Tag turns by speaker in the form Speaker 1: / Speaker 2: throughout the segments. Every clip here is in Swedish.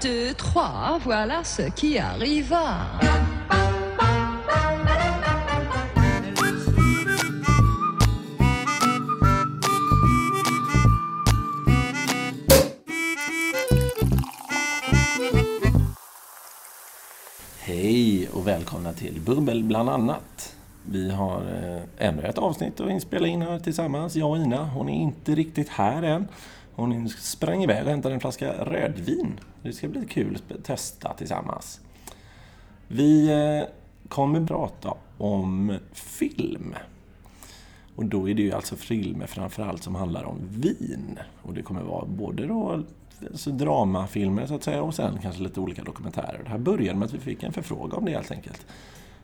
Speaker 1: deux, trois, voilà ce qui arriva.
Speaker 2: Hej och välkomna till Bubbel bland annat. Vi har eh, ännu ett avsnitt att inspela in här tillsammans, jag och Ina. Hon är inte riktigt här än. Hon sprang iväg och hämtade en flaska rödvin. Det ska bli kul att sp- testa tillsammans. Vi eh, kommer prata om film. Och då är det ju alltså filmer framförallt som handlar om vin. Och det kommer vara både då alltså dramafilmer så att säga och sen kanske lite olika dokumentärer. Det här började med att vi fick en förfrågan om det helt enkelt.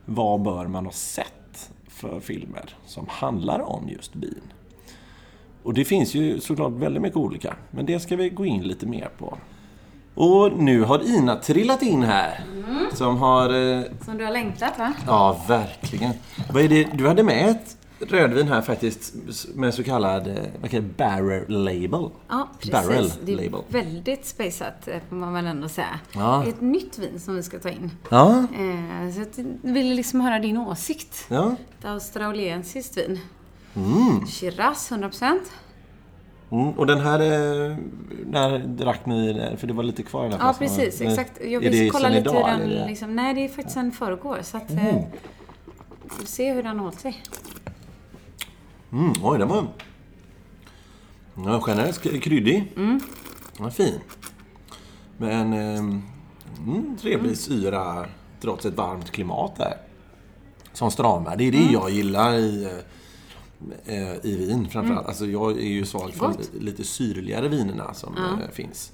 Speaker 2: Vad bör man ha sett för filmer som handlar om just vin? Och det finns ju såklart väldigt mycket olika, men det ska vi gå in lite mer på. Och nu har Ina trillat in här, som har eh,
Speaker 3: Som du har längtat va?
Speaker 2: Ja, verkligen. Vad är det? Du hade med ett rödvin här faktiskt med så kallad eh, vad kallar det? barrel label.
Speaker 3: Ja, precis.
Speaker 2: Barrel
Speaker 3: det är
Speaker 2: label.
Speaker 3: väldigt spejsat eh, får man väl ändå säga.
Speaker 2: Ja.
Speaker 3: Ett nytt vin som vi ska ta in.
Speaker 2: Ja,
Speaker 3: Eh, så att jag ville liksom höra din åsikt.
Speaker 2: ja.
Speaker 3: Ett australiensiskt vin. Shiraz, 100%.
Speaker 2: Mm. Och den här, eh, när drack ni? eh, För det var lite kvar i den här
Speaker 3: Ja,
Speaker 2: flaskan, va?
Speaker 3: precis.
Speaker 2: Men
Speaker 3: Exakt. Jag
Speaker 2: är
Speaker 3: vill
Speaker 2: Alltså, det
Speaker 3: kolla
Speaker 2: sen
Speaker 3: lite hur
Speaker 2: idag,
Speaker 3: den...
Speaker 2: eller är det-
Speaker 3: Liksom, nej, det är faktiskt en förrgår. Så att... Eh, vi får se hur den har hållit sig.
Speaker 2: Mm,
Speaker 3: liksom-
Speaker 2: oj, den var... Den var generellt k- kryddig. Mm. Den var fin. Men ehm, mm, trevlig syra trots ett varmt klimat där. Som stramar. Det är det jag gillar i, eh, eh, i vin framförallt. Alltså jag är ju svag för
Speaker 3: Gott.
Speaker 2: lite syrligare vinerna som eh, finns.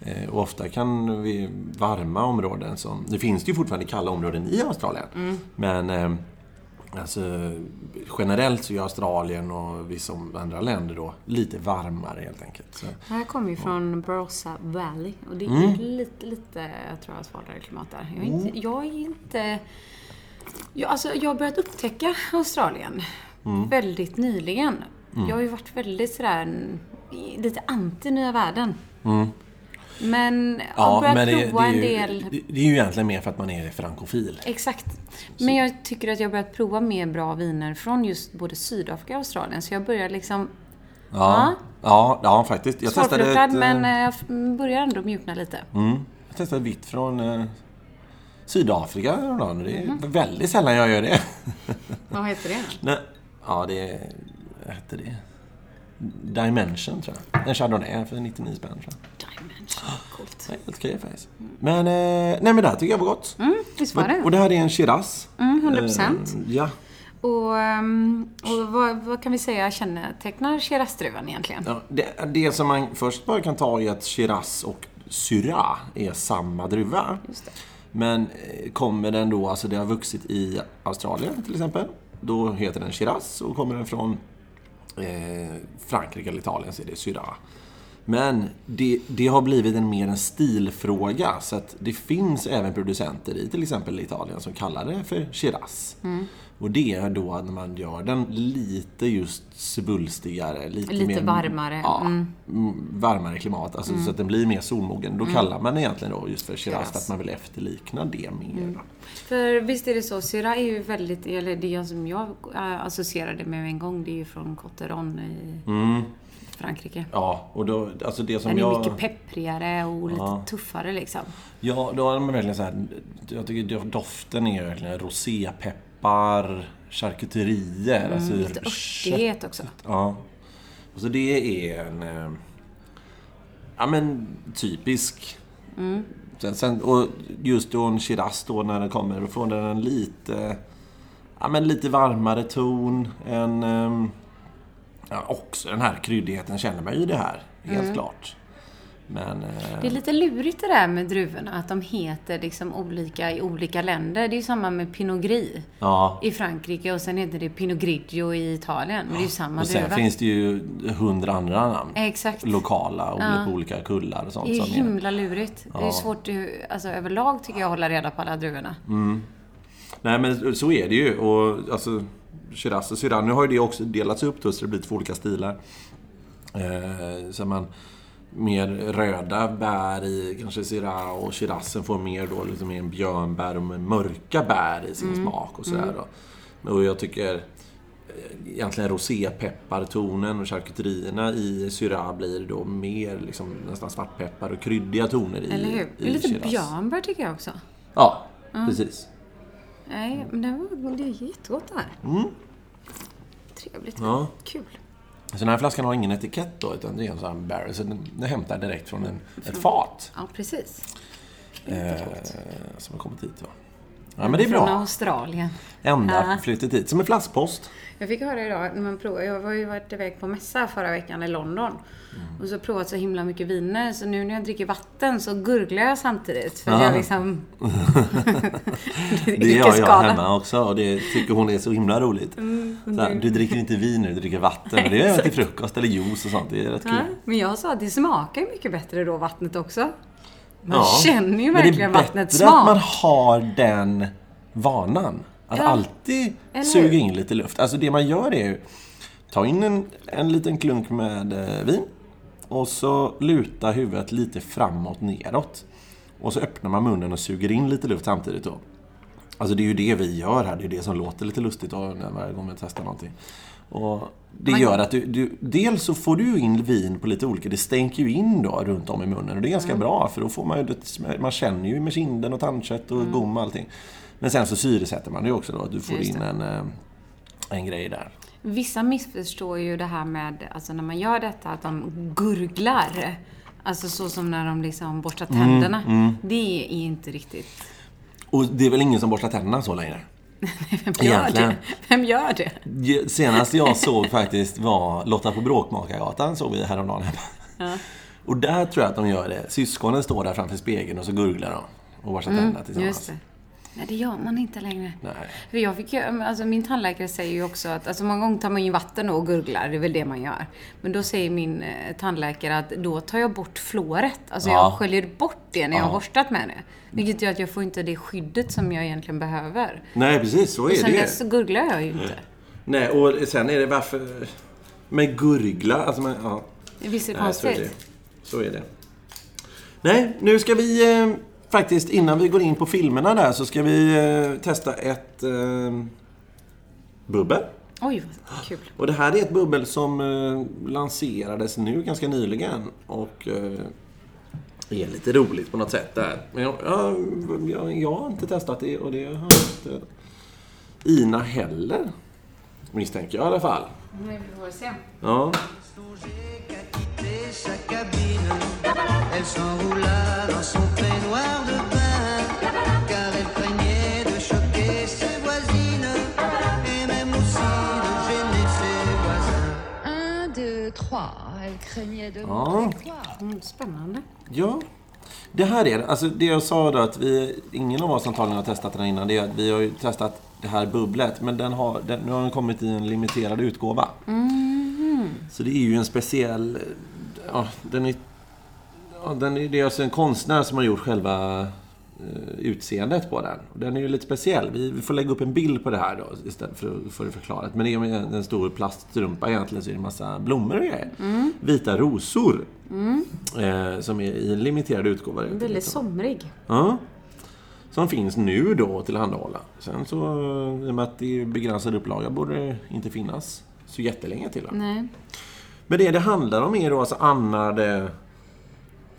Speaker 2: Eh, Och ofta kan vi varma områden som... Det finns det ju fortfarande kalla områden i Australien. Men eh, alltså, generellt så är Australien och vissa andra länder då lite varmare helt enkelt. Så,
Speaker 3: Det här kommer ju från Barossa Valley och det är
Speaker 2: Mm.
Speaker 3: lite, lite, jag tror jag svalare klimat där. Jag är inte, jag är inte... Jag, alltså, jag har börjat upptäcka Australien
Speaker 2: Mm.
Speaker 3: väldigt nyligen. Jag har ju varit väldigt sådär, n- lite anti nya världen.
Speaker 2: Mm.
Speaker 3: Men jag har börjat prova
Speaker 2: är ju,
Speaker 3: en del.
Speaker 2: det- det är ju egentligen mer för att man är frankofil.
Speaker 3: Exakt. Men jag tycker att jag har börjat prova mer bra viner från just både Sydafrika och Australien. Så jag börjar liksom...
Speaker 2: Ja, ja, ja faktiskt. Jag testade, ett,
Speaker 3: Svårflörtad,
Speaker 2: eh, Mm.
Speaker 3: men eh, jag f- börjar ändå mjukna lite.
Speaker 2: jag testade vitt från eh, Sydafrika häromdagen. Det är
Speaker 3: Mhm.
Speaker 2: väldigt sällan jag gör det.
Speaker 3: Vad heter det?
Speaker 2: Nej. Ja, det... Vad hette det? Dimension, tror jag. En Chardonnay för 99 spänn, tror jag.
Speaker 3: Dimension, coolt.
Speaker 2: Det är Helt okej faktiskt. Men, eh, nej men det här tycker jag var gott.
Speaker 3: Mm, visst var
Speaker 2: Och
Speaker 3: det.
Speaker 2: det här är en Shiraz.
Speaker 3: Mm, 100%.
Speaker 2: Eh, ja.
Speaker 3: Och, ehm, och vad, vad kan vi säga kännetecknar Shirazduvan egentligen?
Speaker 2: ja det, det som man först bara kan ta är att Shiraz och Syrah är samma druva.
Speaker 3: Just det.
Speaker 2: Men eh, kommer den då, alltså det har vuxit i Australien till exempel. Då heter den Shiraz och kommer den från eh, Frankrike eller Italien så är det Syrah. Men det, det har blivit en mer en stilfråga så att det finns även producenter i till exempel Italien som kallar det för Shiraz.
Speaker 3: Mm.
Speaker 2: Och det är då att när man gör den lite just svulstigare, lite,
Speaker 3: Lite
Speaker 2: mer,
Speaker 3: varmare,
Speaker 2: Ja,
Speaker 3: mm.
Speaker 2: m- varmare klimat, alltså så att den blir mer solmogen. Då kallar man det egentligen då just för Shiraz, för att man vill efterlikna det mer.
Speaker 3: Mm.
Speaker 2: då.
Speaker 3: För visst är det så, Syrah är ju väldigt, eller det jag- som jag eh, associerade med en gång, det är ju från Cotteron i Frankrike.
Speaker 2: Mm. Ja, och då, alltså det som
Speaker 3: Den är
Speaker 2: jag...
Speaker 3: mycket pepprigare och lite tuffare liksom.
Speaker 2: Ja, då har man verkligen så här, jag tycker do- doften är verkligen rosépeppar, charkuterier, alltså
Speaker 3: Mm, Lite örtighet också.
Speaker 2: Ja. Och så det är en, eh, ja men typisk.
Speaker 3: Mm.
Speaker 2: Sen, sen, och just då en Shiraz då när den kommer, då får den en lite, ja men lite varmare ton. En, ehm, ja, också den här kryddigheten känner man ju i det här, helt
Speaker 3: Mm.
Speaker 2: klart. Men, eh,
Speaker 3: Det är lite lurigt det där med druvorna, att de heter liksom olika i olika länder. Det är ju samma med Pinot Gris.
Speaker 2: ja.
Speaker 3: i Frankrike och sen heter det Pinot Grigio i Italien. Men det är ju samma
Speaker 2: Och sen
Speaker 3: druva.
Speaker 2: finns det ju hundra andra namn.
Speaker 3: Exakt.
Speaker 2: Lokala och på olika kullar och sånt.
Speaker 3: Det är ju
Speaker 2: som är.
Speaker 3: himla lurigt. Det är ju svårt eh, alltså, överlag tycker jag att hålla reda på alla druvorna.
Speaker 2: Mm, Nej men så är det ju. Och alltså, Shiraz och Syrah, nu har ju det också delats upp då, så det blir två olika stilar. Eh, så man, mer röda bär i kanske Syrah och Shirazen får mer då liksom mer björnbär och mer mörka bär i sin
Speaker 3: Mm.
Speaker 2: smak och sådär då. Och jag tycker eh, egentligen rosépeppartonen och charkuterierna i Syrah blir då mer liksom nästan svartpeppar och kryddiga toner i
Speaker 3: Eller hur?
Speaker 2: i
Speaker 3: Lite
Speaker 2: Shiraz.
Speaker 3: björnbär tycker jag också.
Speaker 2: Ja, precis. Mm.
Speaker 3: Nej, men det, var, det är jättegott det här. Trevligt.
Speaker 2: Ja.
Speaker 3: Kul.
Speaker 2: Så den här flaskan har ingen etikett då, utan det är en sån här barrel. Så den, den hämtar direkt från en, ett fat
Speaker 3: Ja, precis.
Speaker 2: eh, som har kommit hit. Va? Ja, men det är
Speaker 3: Från
Speaker 2: bra.
Speaker 3: Australien.
Speaker 2: Ända flyttat hit. Som en flaskpost.
Speaker 3: Jag fick höra idag, när man prov, jag var ju varit iväg på mässa förra veckan i London.
Speaker 2: Mm.
Speaker 3: Och så provat så himla mycket viner, så nu när jag dricker vatten så gurglar jag samtidigt. För att jag
Speaker 2: Ah.
Speaker 3: liksom...
Speaker 2: Det gör jag hemma också och det tycker hon är så himla roligt.
Speaker 3: Mm,
Speaker 2: Så här, du dricker inte vin nu, du dricker vatten. Och det gör jag till frukost eller juice och sånt. Det är rätt
Speaker 3: Ja,
Speaker 2: kul.
Speaker 3: men jag sa att det smakar ju mycket bättre då, vattnet också. Man
Speaker 2: Ja.
Speaker 3: känner ju
Speaker 2: Men det är
Speaker 3: verkligen vattnets
Speaker 2: bättre att man
Speaker 3: smak.
Speaker 2: har den vanan. Att
Speaker 3: Ja.
Speaker 2: alltid
Speaker 3: Eller
Speaker 2: suga
Speaker 3: hur?
Speaker 2: in lite luft. Alltså det man gör är ju, ta in en, en liten klunk med eh, vin och så luta huvudet lite framåt, neråt. Och så öppnar man munnen och suger in lite luft samtidigt då. Alltså det är ju det vi gör här, det är det som låter lite lustigt då, när varje gång vi testar någonting. Och det
Speaker 3: Man-
Speaker 2: gör att du, du, dels så får du ju in vin på lite olika, det stänker ju in då runt om i munnen och det är
Speaker 3: Mm.
Speaker 2: ganska bra för då får man ju, det- man känner ju med kinden och tandkött och gom och allting. Men sen så syresätter man det ju också då, att du får
Speaker 3: Mm. Just
Speaker 2: in en, eh, en grej där.
Speaker 3: Vissa missförstår ju det här med, alltså när man gör detta, att de gurglar. Alltså så som när de liksom borstar
Speaker 2: Mm,
Speaker 3: tänderna. Det är inte riktigt...
Speaker 2: Och det är väl ingen som borstar tänderna så längre?
Speaker 3: Vem gör
Speaker 2: Egentligen.
Speaker 3: det? Vem gör det?
Speaker 2: Senast jag såg faktiskt var Lotta på Bråkmakargatan, såg vi häromdagen hemma. Och där tror jag att de gör det. Syskonen står där framför spegeln och så gurglar de och borstar tänderna tillsammans.
Speaker 3: Mm, Just det. Nej, det gör man inte längre.
Speaker 2: Nej.
Speaker 3: För jag fick ju, alltså min tandläkare säger ju också att, alltså många gånger tar man ju vatten och gurglar, det är väl det man gör. Men då säger min eh, tandläkare att då tar jag bort fluoret. Alltså
Speaker 2: Ja.
Speaker 3: jag sköljer bort det när jag
Speaker 2: Ja.
Speaker 3: har borstat med det. Vilket gör att jag får inte det skyddet som jag egentligen behöver.
Speaker 2: Nej, precis. Så
Speaker 3: Och
Speaker 2: är
Speaker 3: sen
Speaker 2: det
Speaker 3: dess så gurglar jag ju inte.
Speaker 2: Nej, och sen är det varför... Med gurgla, alltså man, ja.
Speaker 3: Visst är det
Speaker 2: Nej, så är det.
Speaker 3: konstigt?
Speaker 2: Så är det. Nej, nu ska vi eh, faktiskt, innan vi går in på filmerna där, så ska vi eh, testa ett eh, bubbel.
Speaker 3: Oj, vad kul.
Speaker 2: Och det här är ett bubbel som eh, lanserades nu ganska nyligen och eh, är lite roligt på något sätt där. Men jag, jag, jag, jag har inte testat det och det har inte Ina heller. Misstänker jag i alla fall.
Speaker 3: Nej, vi får se.
Speaker 2: Ja.
Speaker 4: Songer qu'a quitté sa cabine. Elle s'enroula dans son peignoir de pain, car elle craignait de choquer ses voisines et même aussi de gêner ses voisins.
Speaker 1: 1, 2, 3. Elle craignait de
Speaker 2: Ah.
Speaker 1: montrer quoi
Speaker 3: Mm, spännande.
Speaker 2: Ja. Det här är alltså det jag sa då att vi, ingen av oss antagligen har testat den här innan, det är att vi har ju testat det här bubblet, men den har, den, nu har den kommit i en limiterad utgåva. Så det är ju en speciell, ja, den är, ja, den är, det är alltså en konstnär som har gjort själva eh, utseendet på den. Och Den är ju lite speciell. Vi vi får lägga upp en bild på det här då istället för, att- för att förklara. Men det är med en stor plaststrumpa egentligen så är det en massa blommor och grejer. Vita rosor. Eh, som är i en limiterad utgåva.
Speaker 3: Väldigt somrig.
Speaker 2: Ja. Som finns nu då att tillhandahålla. Sen så, i och med att det är begränsad upplaga, borde det inte finnas så jättelänge till.
Speaker 3: Nej.
Speaker 2: Men det det handlar om är då alltså Anna de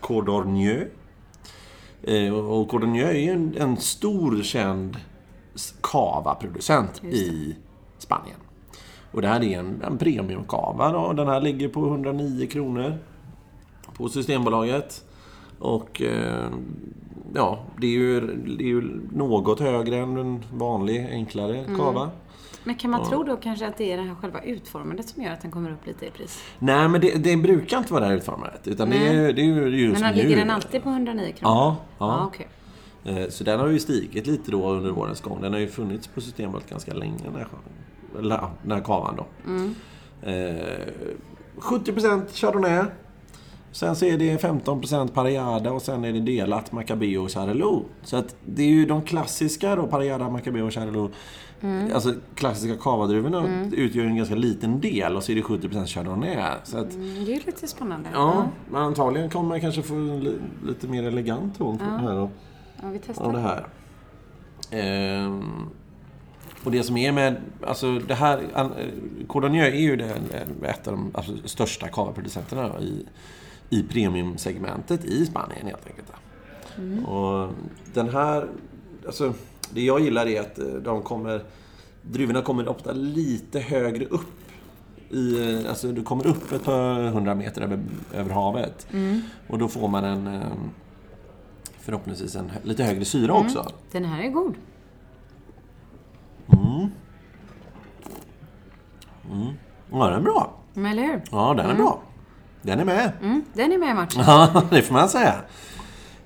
Speaker 2: Cordornieu. Eh, och och Cordornieu är ju en, en stor känd s- cava-producent i Spanien. Och det här är en, en premiumcava då. Den här ligger på 109 kronor på Systembolaget. Och eh, ja, det är, ju, det är ju något högre än en vanlig enklare
Speaker 3: Mm.
Speaker 2: cava.
Speaker 3: Men kan man tro då kanske att det är det här själva utformandet som gör att den kommer upp lite i pris?
Speaker 2: Nej, men det, det brukar inte vara det här utformandet. Utan det är, ju- det är ju just
Speaker 3: Men den
Speaker 2: nu.
Speaker 3: ligger den alltid på 109 kronor?
Speaker 2: Ja,
Speaker 3: Ja,
Speaker 2: ja.
Speaker 3: Ah, okej.
Speaker 2: Eh, Så den har ju stigit lite då under årens gång. Den har ju funnits på Systembolaget ganska länge, den här, sk- eller, ja, den här kavan då. Eh, 70% Chardonnay. Sen så är det 15% Pariada och sen är det delat Macabeo och Charelou. Så att det är ju de klassiska då, Pariada, Macabeo och Charelou. Alltså klassiska kavadruvorna utgör en ganska liten del och så är det 70% Chardonnay. Så att,
Speaker 3: Mm, Det är ju lite spännande.
Speaker 2: ja, men antagligen kommer man kanske få en li- lite mer elegant ton på det här då
Speaker 3: Ja, vi testar.
Speaker 2: av det här. Ehm, och det som är med, alltså det här, an- eh, Cordonier är ju den, eh, ett av de absolut största kavaproducenterna i, i premiumsegmentet i Spanien helt enkelt. Och den här, alltså det jag gillar är att eh, de kommer, druvorna kommer ofta lite högre upp. I, eh, alltså du kommer upp ett par hundra meter över, över havet. Och då får man en, eh, förhoppningsvis en hö- lite högre syra också.
Speaker 3: Den här är god.
Speaker 2: Ja, den är bra.
Speaker 3: Men Mm, eller hur?
Speaker 2: Ja, den är bra. Den är med.
Speaker 3: Mm, den är med i matchen.
Speaker 2: Ja, det får man säga.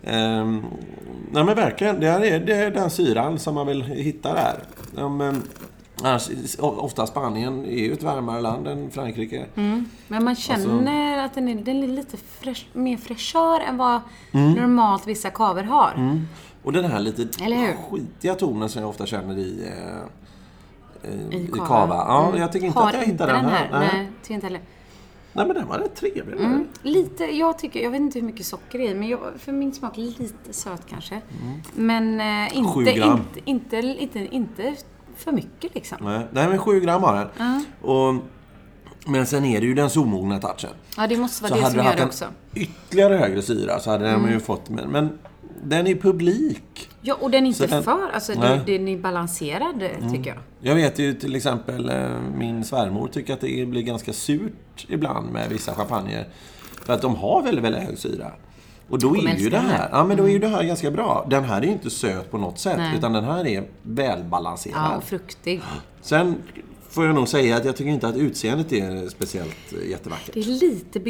Speaker 2: Ehm, nej men verkligen, det, här är, det är den syran som man vill hitta där. Um, annars, o- ofta Spanien är ju ett varmare land än Frankrike.
Speaker 3: Men man känner att den är, den är lite fräsch, mer fräschör än vad
Speaker 2: Mm.
Speaker 3: normalt vissa kaver har.
Speaker 2: Och den här lite
Speaker 3: Eller hur?
Speaker 2: skitiga tonen som jag ofta känner i, eh, eh, i,
Speaker 3: kava.
Speaker 2: kava. Ja,
Speaker 3: Mm.
Speaker 2: Jag tycker inte
Speaker 3: har
Speaker 2: att jag
Speaker 3: inte
Speaker 2: hittar den här.
Speaker 3: Nej,
Speaker 2: Nej.
Speaker 3: tycker inte heller.
Speaker 2: nej, men den var rätt trevlig.
Speaker 3: Mm. Lite, jag tycker, jag vet inte hur mycket socker det är men jag, för min smak lite söt kanske. Men eh, inte,
Speaker 2: Mm. Sju gram.
Speaker 3: inte, inte, inte, inte för mycket liksom.
Speaker 2: Nej, nej men 7 gram har den. Och, men sen är det ju den solmogna touchen.
Speaker 3: Ja, det måste vara
Speaker 2: så
Speaker 3: det
Speaker 2: hade
Speaker 3: som
Speaker 2: du
Speaker 3: gör
Speaker 2: haft
Speaker 3: det
Speaker 2: en
Speaker 3: också. Mm.
Speaker 2: ytterligare högre syra så hade den ju fått... Men, men den är publik.
Speaker 3: Ja, och den är inte
Speaker 2: Så den-
Speaker 3: för, alltså
Speaker 2: Nej. Mm.
Speaker 3: den, den är balanserad tycker jag.
Speaker 2: Jag vet ju till exempel eh, min svärmor tycker att det blir ganska surt ibland med vissa champagner. För att de har väldigt, väldigt hög syra. Och då är ju
Speaker 3: älskar
Speaker 2: det
Speaker 3: den här. Mm.
Speaker 2: här, ja, men då är ju det här ganska bra. Den här är ju inte söt på något sätt,
Speaker 3: Nej.
Speaker 2: utan den här är välbalanserad.
Speaker 3: Ja, och fruktig.
Speaker 2: Sen får jag nog säga att jag tycker inte att utseendet är speciellt eh, jättevackert.
Speaker 3: Det är lite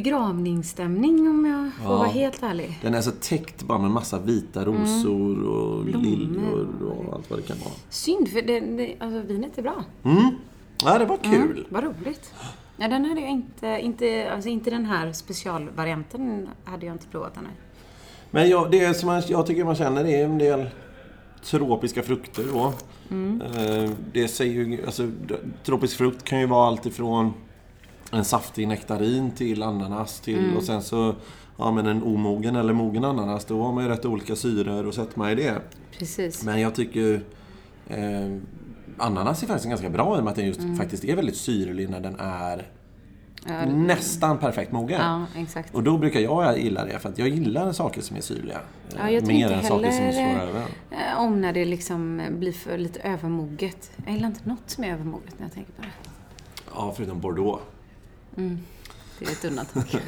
Speaker 3: begravningsstämning om jag får vara helt ärlig.
Speaker 2: Den är så täckt bara med massa vita
Speaker 3: Mm.
Speaker 2: rosor och liljor och allt vad det kan vara.
Speaker 3: Synd, för det, det, alltså, vinet är bra.
Speaker 2: Ja, det var kul.
Speaker 3: Vad roligt. Ja, den hade jag inte, inte, alltså inte den här specialvarianten hade jag inte provat ännu.
Speaker 2: Men jag, det som man, jag tycker man känner är en del tropiska frukter då. Eh, Det säger ju, alltså, d- tropisk frukt kan ju vara allt ifrån en saftig nektarin till ananas till och sen så ja, men en omogen eller mogen ananas. Då har man ju rätt olika syror och sätter man i det.
Speaker 3: Precis.
Speaker 2: Men jag tycker eh, ananas är faktiskt ganska bra i och med att den just faktiskt är väldigt syrlig när den är nästan perfekt mogen.
Speaker 3: Ja, exakt.
Speaker 2: Och då brukar jag gilla det, för att jag gillar saker som är syrliga. eh,
Speaker 3: Ja, jag tycker
Speaker 2: mer
Speaker 3: inte
Speaker 2: än saker som
Speaker 3: heller-
Speaker 2: slår över.
Speaker 3: Eh, Om när det liksom blir för lite övermoget. Jag gillar inte något som är övermoget när jag tänker på det.
Speaker 2: Ja, förutom Bordeaux.
Speaker 3: Det är ett undantag.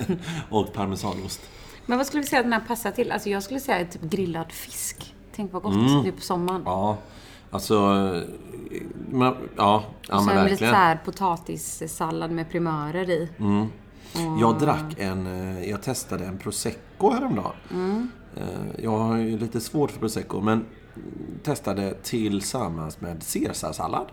Speaker 2: Och parmesanost.
Speaker 3: Men vad skulle vi säga att den här passar till? Alltså jag skulle säga typ grillad fisk. Tänk vad gott nu på sommaren.
Speaker 2: Mm. Ja, alltså... eh, Men, ja, ja
Speaker 3: och
Speaker 2: men
Speaker 3: sen lite
Speaker 2: verkligen. Mm.
Speaker 3: så här potatissallad med primörer i.
Speaker 2: Jag drack en... eh, Jag testade en prosecco häromdagen.
Speaker 3: Mm.
Speaker 2: Eh, Jag har ju lite svårt för prosecco, men testade tillsammans med caesarsallad.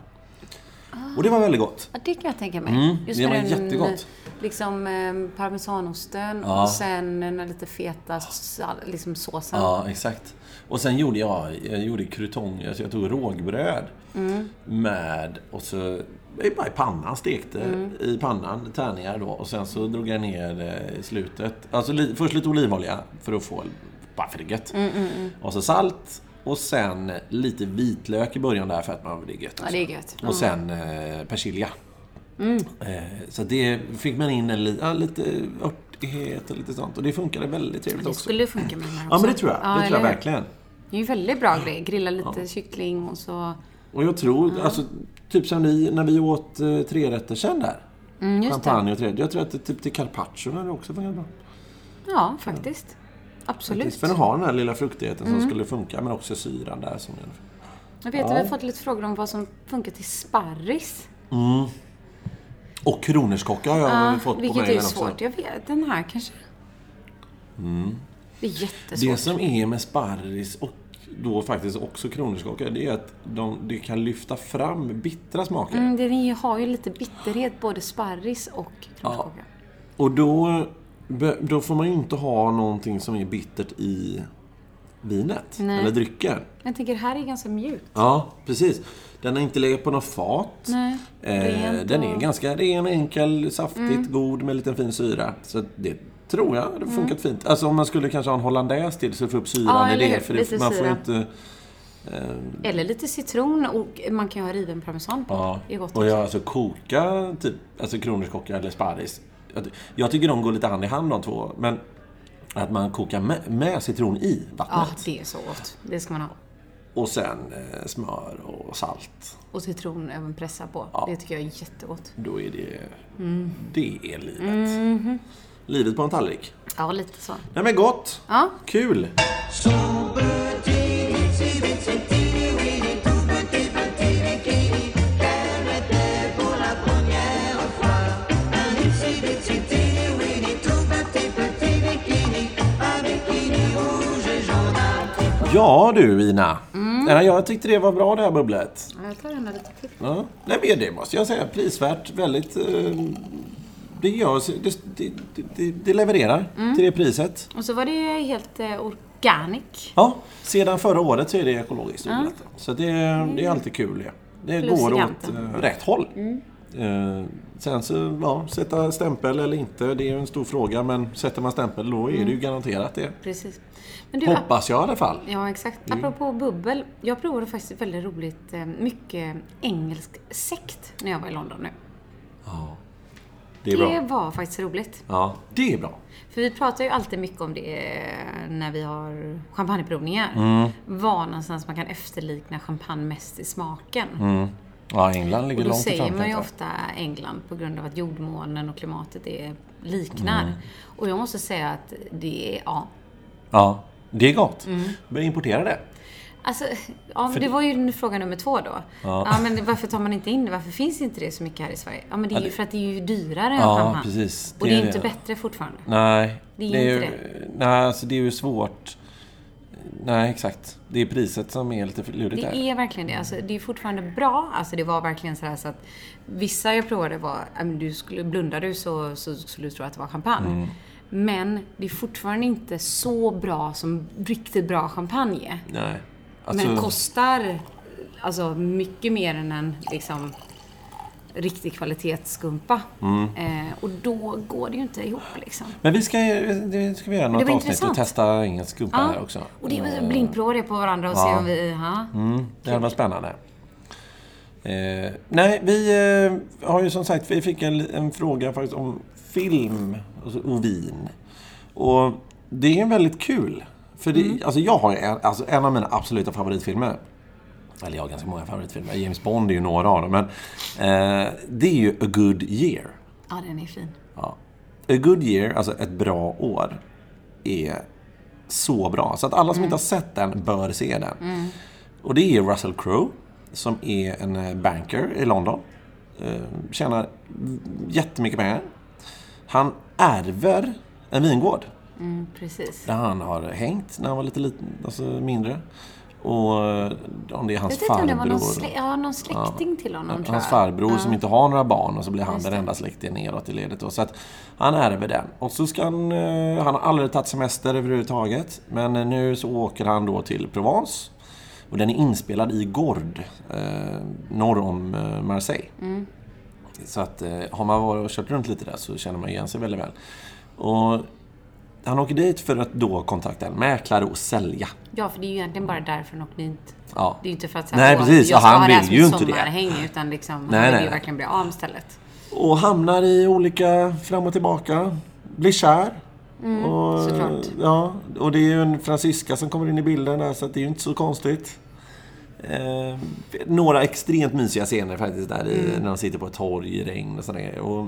Speaker 3: Ah.
Speaker 2: Och det var väldigt gott.
Speaker 3: Ja, det kan jag tänka mig.
Speaker 2: Mm, det var
Speaker 3: med
Speaker 2: jättegott.
Speaker 3: Liksom eh, parmesanosten
Speaker 2: Ja.
Speaker 3: och sen den här lite feta sall- liksom såsen.
Speaker 2: Ja, exakt. Och sen gjorde jag, jag gjorde crouton, alltså jag tog rågbröd med, och så i- bara i pannan, stekte i pannan, tärningar då. Och sen så drog jag ner eh, i slutet, alltså li, först lite olivolja för att få, bara för det är gött. Och så salt. Och sen lite vitlök i början där för att man det är gött.
Speaker 3: det är gött.
Speaker 2: Och sen eh, persilja. Eh, så det fick man in en, li, ja, lite örtighet och lite sånt. Och det funkade väldigt trevligt
Speaker 3: Det
Speaker 2: också.
Speaker 3: skulle funka med den här
Speaker 2: Ja,
Speaker 3: också.
Speaker 2: men det tror jag.
Speaker 3: Ja,
Speaker 2: det tror jag
Speaker 3: eller hur?
Speaker 2: verkligen.
Speaker 3: Det är ju en väldigt bra grej. Grilla lite kyckling och så...
Speaker 2: Och jag tror, alltså, typ som ni, när vi åt eh, trerättersen där.
Speaker 3: Mm, just det.
Speaker 2: Champagne och trerätter. Jag tror att det, typ till carpaccion hade också funkat bra.
Speaker 3: Ja, faktiskt. Absolut. Mm.
Speaker 2: För den har den här lilla fruktigheten som skulle funka, men också syran där. Som gör-
Speaker 3: Jag vet att vi har fått lite frågor om vad som funkar till sparris.
Speaker 2: och kronerskocka har jag fått på
Speaker 3: Vilket är
Speaker 2: mejlen
Speaker 3: ju
Speaker 2: också. Mm.
Speaker 3: svårt. Jag vet. Den här kanske. Det är
Speaker 2: Det
Speaker 3: jättesvårt.
Speaker 2: som är med sparris och då faktiskt också kronerskocka, det är att de, det kan lyfta fram bittra smaker.
Speaker 3: Mm, den är ju- har ju lite bitterhet, både sparris och kronskocka.
Speaker 2: Och då Be- Då får man ju inte ha någonting som är bittert i vinet.
Speaker 3: Nej.
Speaker 2: Eller drycken.
Speaker 3: Jag tänker, här är ganska mjukt.
Speaker 2: Ja, precis. Den har inte legat på något fat.
Speaker 3: Nej.
Speaker 2: Eh,
Speaker 3: Rent
Speaker 2: den är
Speaker 3: och-
Speaker 2: ganska ren, enkel, saftigt,
Speaker 3: Mm.
Speaker 2: god med en liten fin syra. Så det tror jag det har funkat fint. Alltså om man skulle kanske ha en hollandaise till så att få upp syran
Speaker 3: Ja,
Speaker 2: i
Speaker 3: eller
Speaker 2: det.
Speaker 3: hur?
Speaker 2: För det,
Speaker 3: Lite
Speaker 2: man får
Speaker 3: syra.
Speaker 2: ju inte...
Speaker 3: Eller lite citron och man kan ju ha riven parmesan på.
Speaker 2: Ja.
Speaker 3: Det är gott
Speaker 2: Och jag
Speaker 3: också.
Speaker 2: alltså koka typ, alltså kronärtskocka eller sparris. Jag, jag tycker de går lite hand i hand de två. Men att man kokar med, med citron i
Speaker 3: Ja,
Speaker 2: vattnet.
Speaker 3: det är så gott. Det ska man ha.
Speaker 2: Och sen eh, smör och salt.
Speaker 3: Och citron även pressa på. Det tycker jag är jättegott.
Speaker 2: Då är det... Det är livet. Livet på en tallrik.
Speaker 3: Ja, lite så.
Speaker 2: Nej men gott!
Speaker 3: Ja.
Speaker 2: Kul! Ja du Ina! Ja, jag tyckte det var bra det här bubblet.
Speaker 3: Ja, Jag tar den där lite till.
Speaker 2: Ja. Nej, men det måste jag säga. Prisvärt. Väldigt... Eh, det, gör, det, det, det, det levererar till det priset.
Speaker 3: Och så var det helt eh, organic.
Speaker 2: Ja, sedan förra året så är det ekologiskt odlat. Så det, det är alltid kul det. Det
Speaker 3: Mm. Plus Mm.
Speaker 2: går åt
Speaker 3: giganten.
Speaker 2: eh, rätt håll. Eh, sen så, ja, sätta stämpel eller inte, det är ju en stor fråga. Men sätter man stämpel då är
Speaker 3: Mm.
Speaker 2: det ju garanterat det.
Speaker 3: Precis. Men du,
Speaker 2: Hoppas jag i alla fall.
Speaker 3: Ja, exakt.
Speaker 2: Mm.
Speaker 3: Apropå bubbel. Jag provade faktiskt väldigt roligt, eh, mycket engelsk sekt när jag var i London nu.
Speaker 2: Det är
Speaker 3: Det
Speaker 2: bra.
Speaker 3: var faktiskt roligt.
Speaker 2: Ja, det är bra.
Speaker 3: För vi pratar ju alltid mycket om det eh, när vi har champagneprovningar.
Speaker 2: Mm.
Speaker 3: Var någonstans man kan efterlikna champagne mest i smaken.
Speaker 2: Ja, England ligger Mm, långt i
Speaker 3: Och då
Speaker 2: alltså.
Speaker 3: säger man ju
Speaker 2: framkant.
Speaker 3: ofta England på grund av att jordmånen och klimatet är, liknar.
Speaker 2: Mm.
Speaker 3: Och jag måste säga att det är, ja.
Speaker 2: Ja, det är gott.
Speaker 3: Mm.
Speaker 2: Men importera det.
Speaker 3: Alltså, ja, men det var ju fråga nummer två då. Ja. men varför tar man inte in det? Varför finns inte det så mycket här i Sverige? Ja, men det är ju för att det är ju dyrare än
Speaker 2: Ja,
Speaker 3: champagne.
Speaker 2: precis.
Speaker 3: Och
Speaker 2: Det
Speaker 3: det Mm, är
Speaker 2: är
Speaker 3: ju inte
Speaker 2: det.
Speaker 3: bättre fortfarande.
Speaker 2: Nej.
Speaker 3: Det är
Speaker 2: ju,
Speaker 3: inte
Speaker 2: Nej, alltså det är ju svårt. Nej, exakt. Det är priset som är lite lurigt där.
Speaker 3: Det är verkligen det. Alltså, det är fortfarande bra. Alltså, det var verkligen så, här så att vissa jag provade var, ja, men du skulle, blundar du så, så skulle du tro att det var champagne. Men det är fortfarande inte så bra som riktigt bra champagne är.
Speaker 2: Nej.
Speaker 3: Men kostar alltså, mycket mer än en liksom, riktig kvalitetsskumpa.
Speaker 2: Mm.
Speaker 3: Eh, och då går det ju inte ihop liksom.
Speaker 2: Men vi ska, det ska vi göra något
Speaker 3: var
Speaker 2: avsnitt och
Speaker 3: intressant.
Speaker 2: testa engelsk skumpa
Speaker 3: Ja.
Speaker 2: här också. Eh.
Speaker 3: Och det är väl blindprova det på varandra och se om vi... Ja.
Speaker 2: Mm, det här var spännande. Eh, nej, vi eh, har ju som sagt, vi fick en, en fråga faktiskt om film och, så- och vin. Och det är väldigt kul. För det,
Speaker 3: Mm.
Speaker 2: alltså jag har ju en, alltså en av mina absoluta favoritfilmer. Eller jag har ganska många favoritfilmer. James Bond är ju några av dem. Men eh, det är ju A Good Year.
Speaker 3: ja, den är fin.
Speaker 2: Ja. A good year, alltså ett bra år, är så bra. Så att alla som inte har
Speaker 3: Mm.
Speaker 2: sett den bör se den. Och det är Russell Crowe, som är en eh, banker i London. Eh, Tjänar jättemycket pengar. Han ärver en vingård
Speaker 3: Mm, precis.
Speaker 2: där han har hängt när han var lite liten, alltså mindre. Och eh, om det är
Speaker 3: Jag
Speaker 2: hans
Speaker 3: vet inte om det var någon,
Speaker 2: farbror.
Speaker 3: slä- ja, någon släkting till honom, tror
Speaker 2: Hans
Speaker 3: jag.
Speaker 2: farbror som inte har några barn och så blir han den enda släktingen neråt i ledet. Då. Så att han ärver den. Och så ska han, eh, han har aldrig tagit semester överhuvudtaget. Men eh, nu så åker han då till Provence. Och den är inspelad i Gord, eh, norr om eh, Marseille.
Speaker 3: Mm.
Speaker 2: Så att eh, har man varit och kört runt lite där så känner man igen sig väldigt väl. Och han åker dit för att då kontakta en mäklare och sälja.
Speaker 3: Ja, för det är ju egentligen bara därför han åkte dit.
Speaker 2: Ja.
Speaker 3: Det är ju inte för att
Speaker 2: Nej,
Speaker 3: "Åh,
Speaker 2: precis.
Speaker 3: jag
Speaker 2: Ja,
Speaker 3: ska
Speaker 2: han
Speaker 3: ha det här
Speaker 2: vill
Speaker 3: som
Speaker 2: ju
Speaker 3: ett
Speaker 2: inte det."
Speaker 3: sommarhäng, utan liksom,
Speaker 2: Nej,
Speaker 3: han vill
Speaker 2: nej,
Speaker 3: ju
Speaker 2: nej.
Speaker 3: verkligen bli av med stället.
Speaker 2: Och hamnar i olika fram och tillbaka. Blir kär. och,
Speaker 3: såklart.
Speaker 2: ja, och det är ju en fransyska som kommer in i bilden där så att det är ju inte så konstigt. Eh, några extremt mysiga scener faktiskt där i, när de sitter på ett torg i regn och sådär. Och,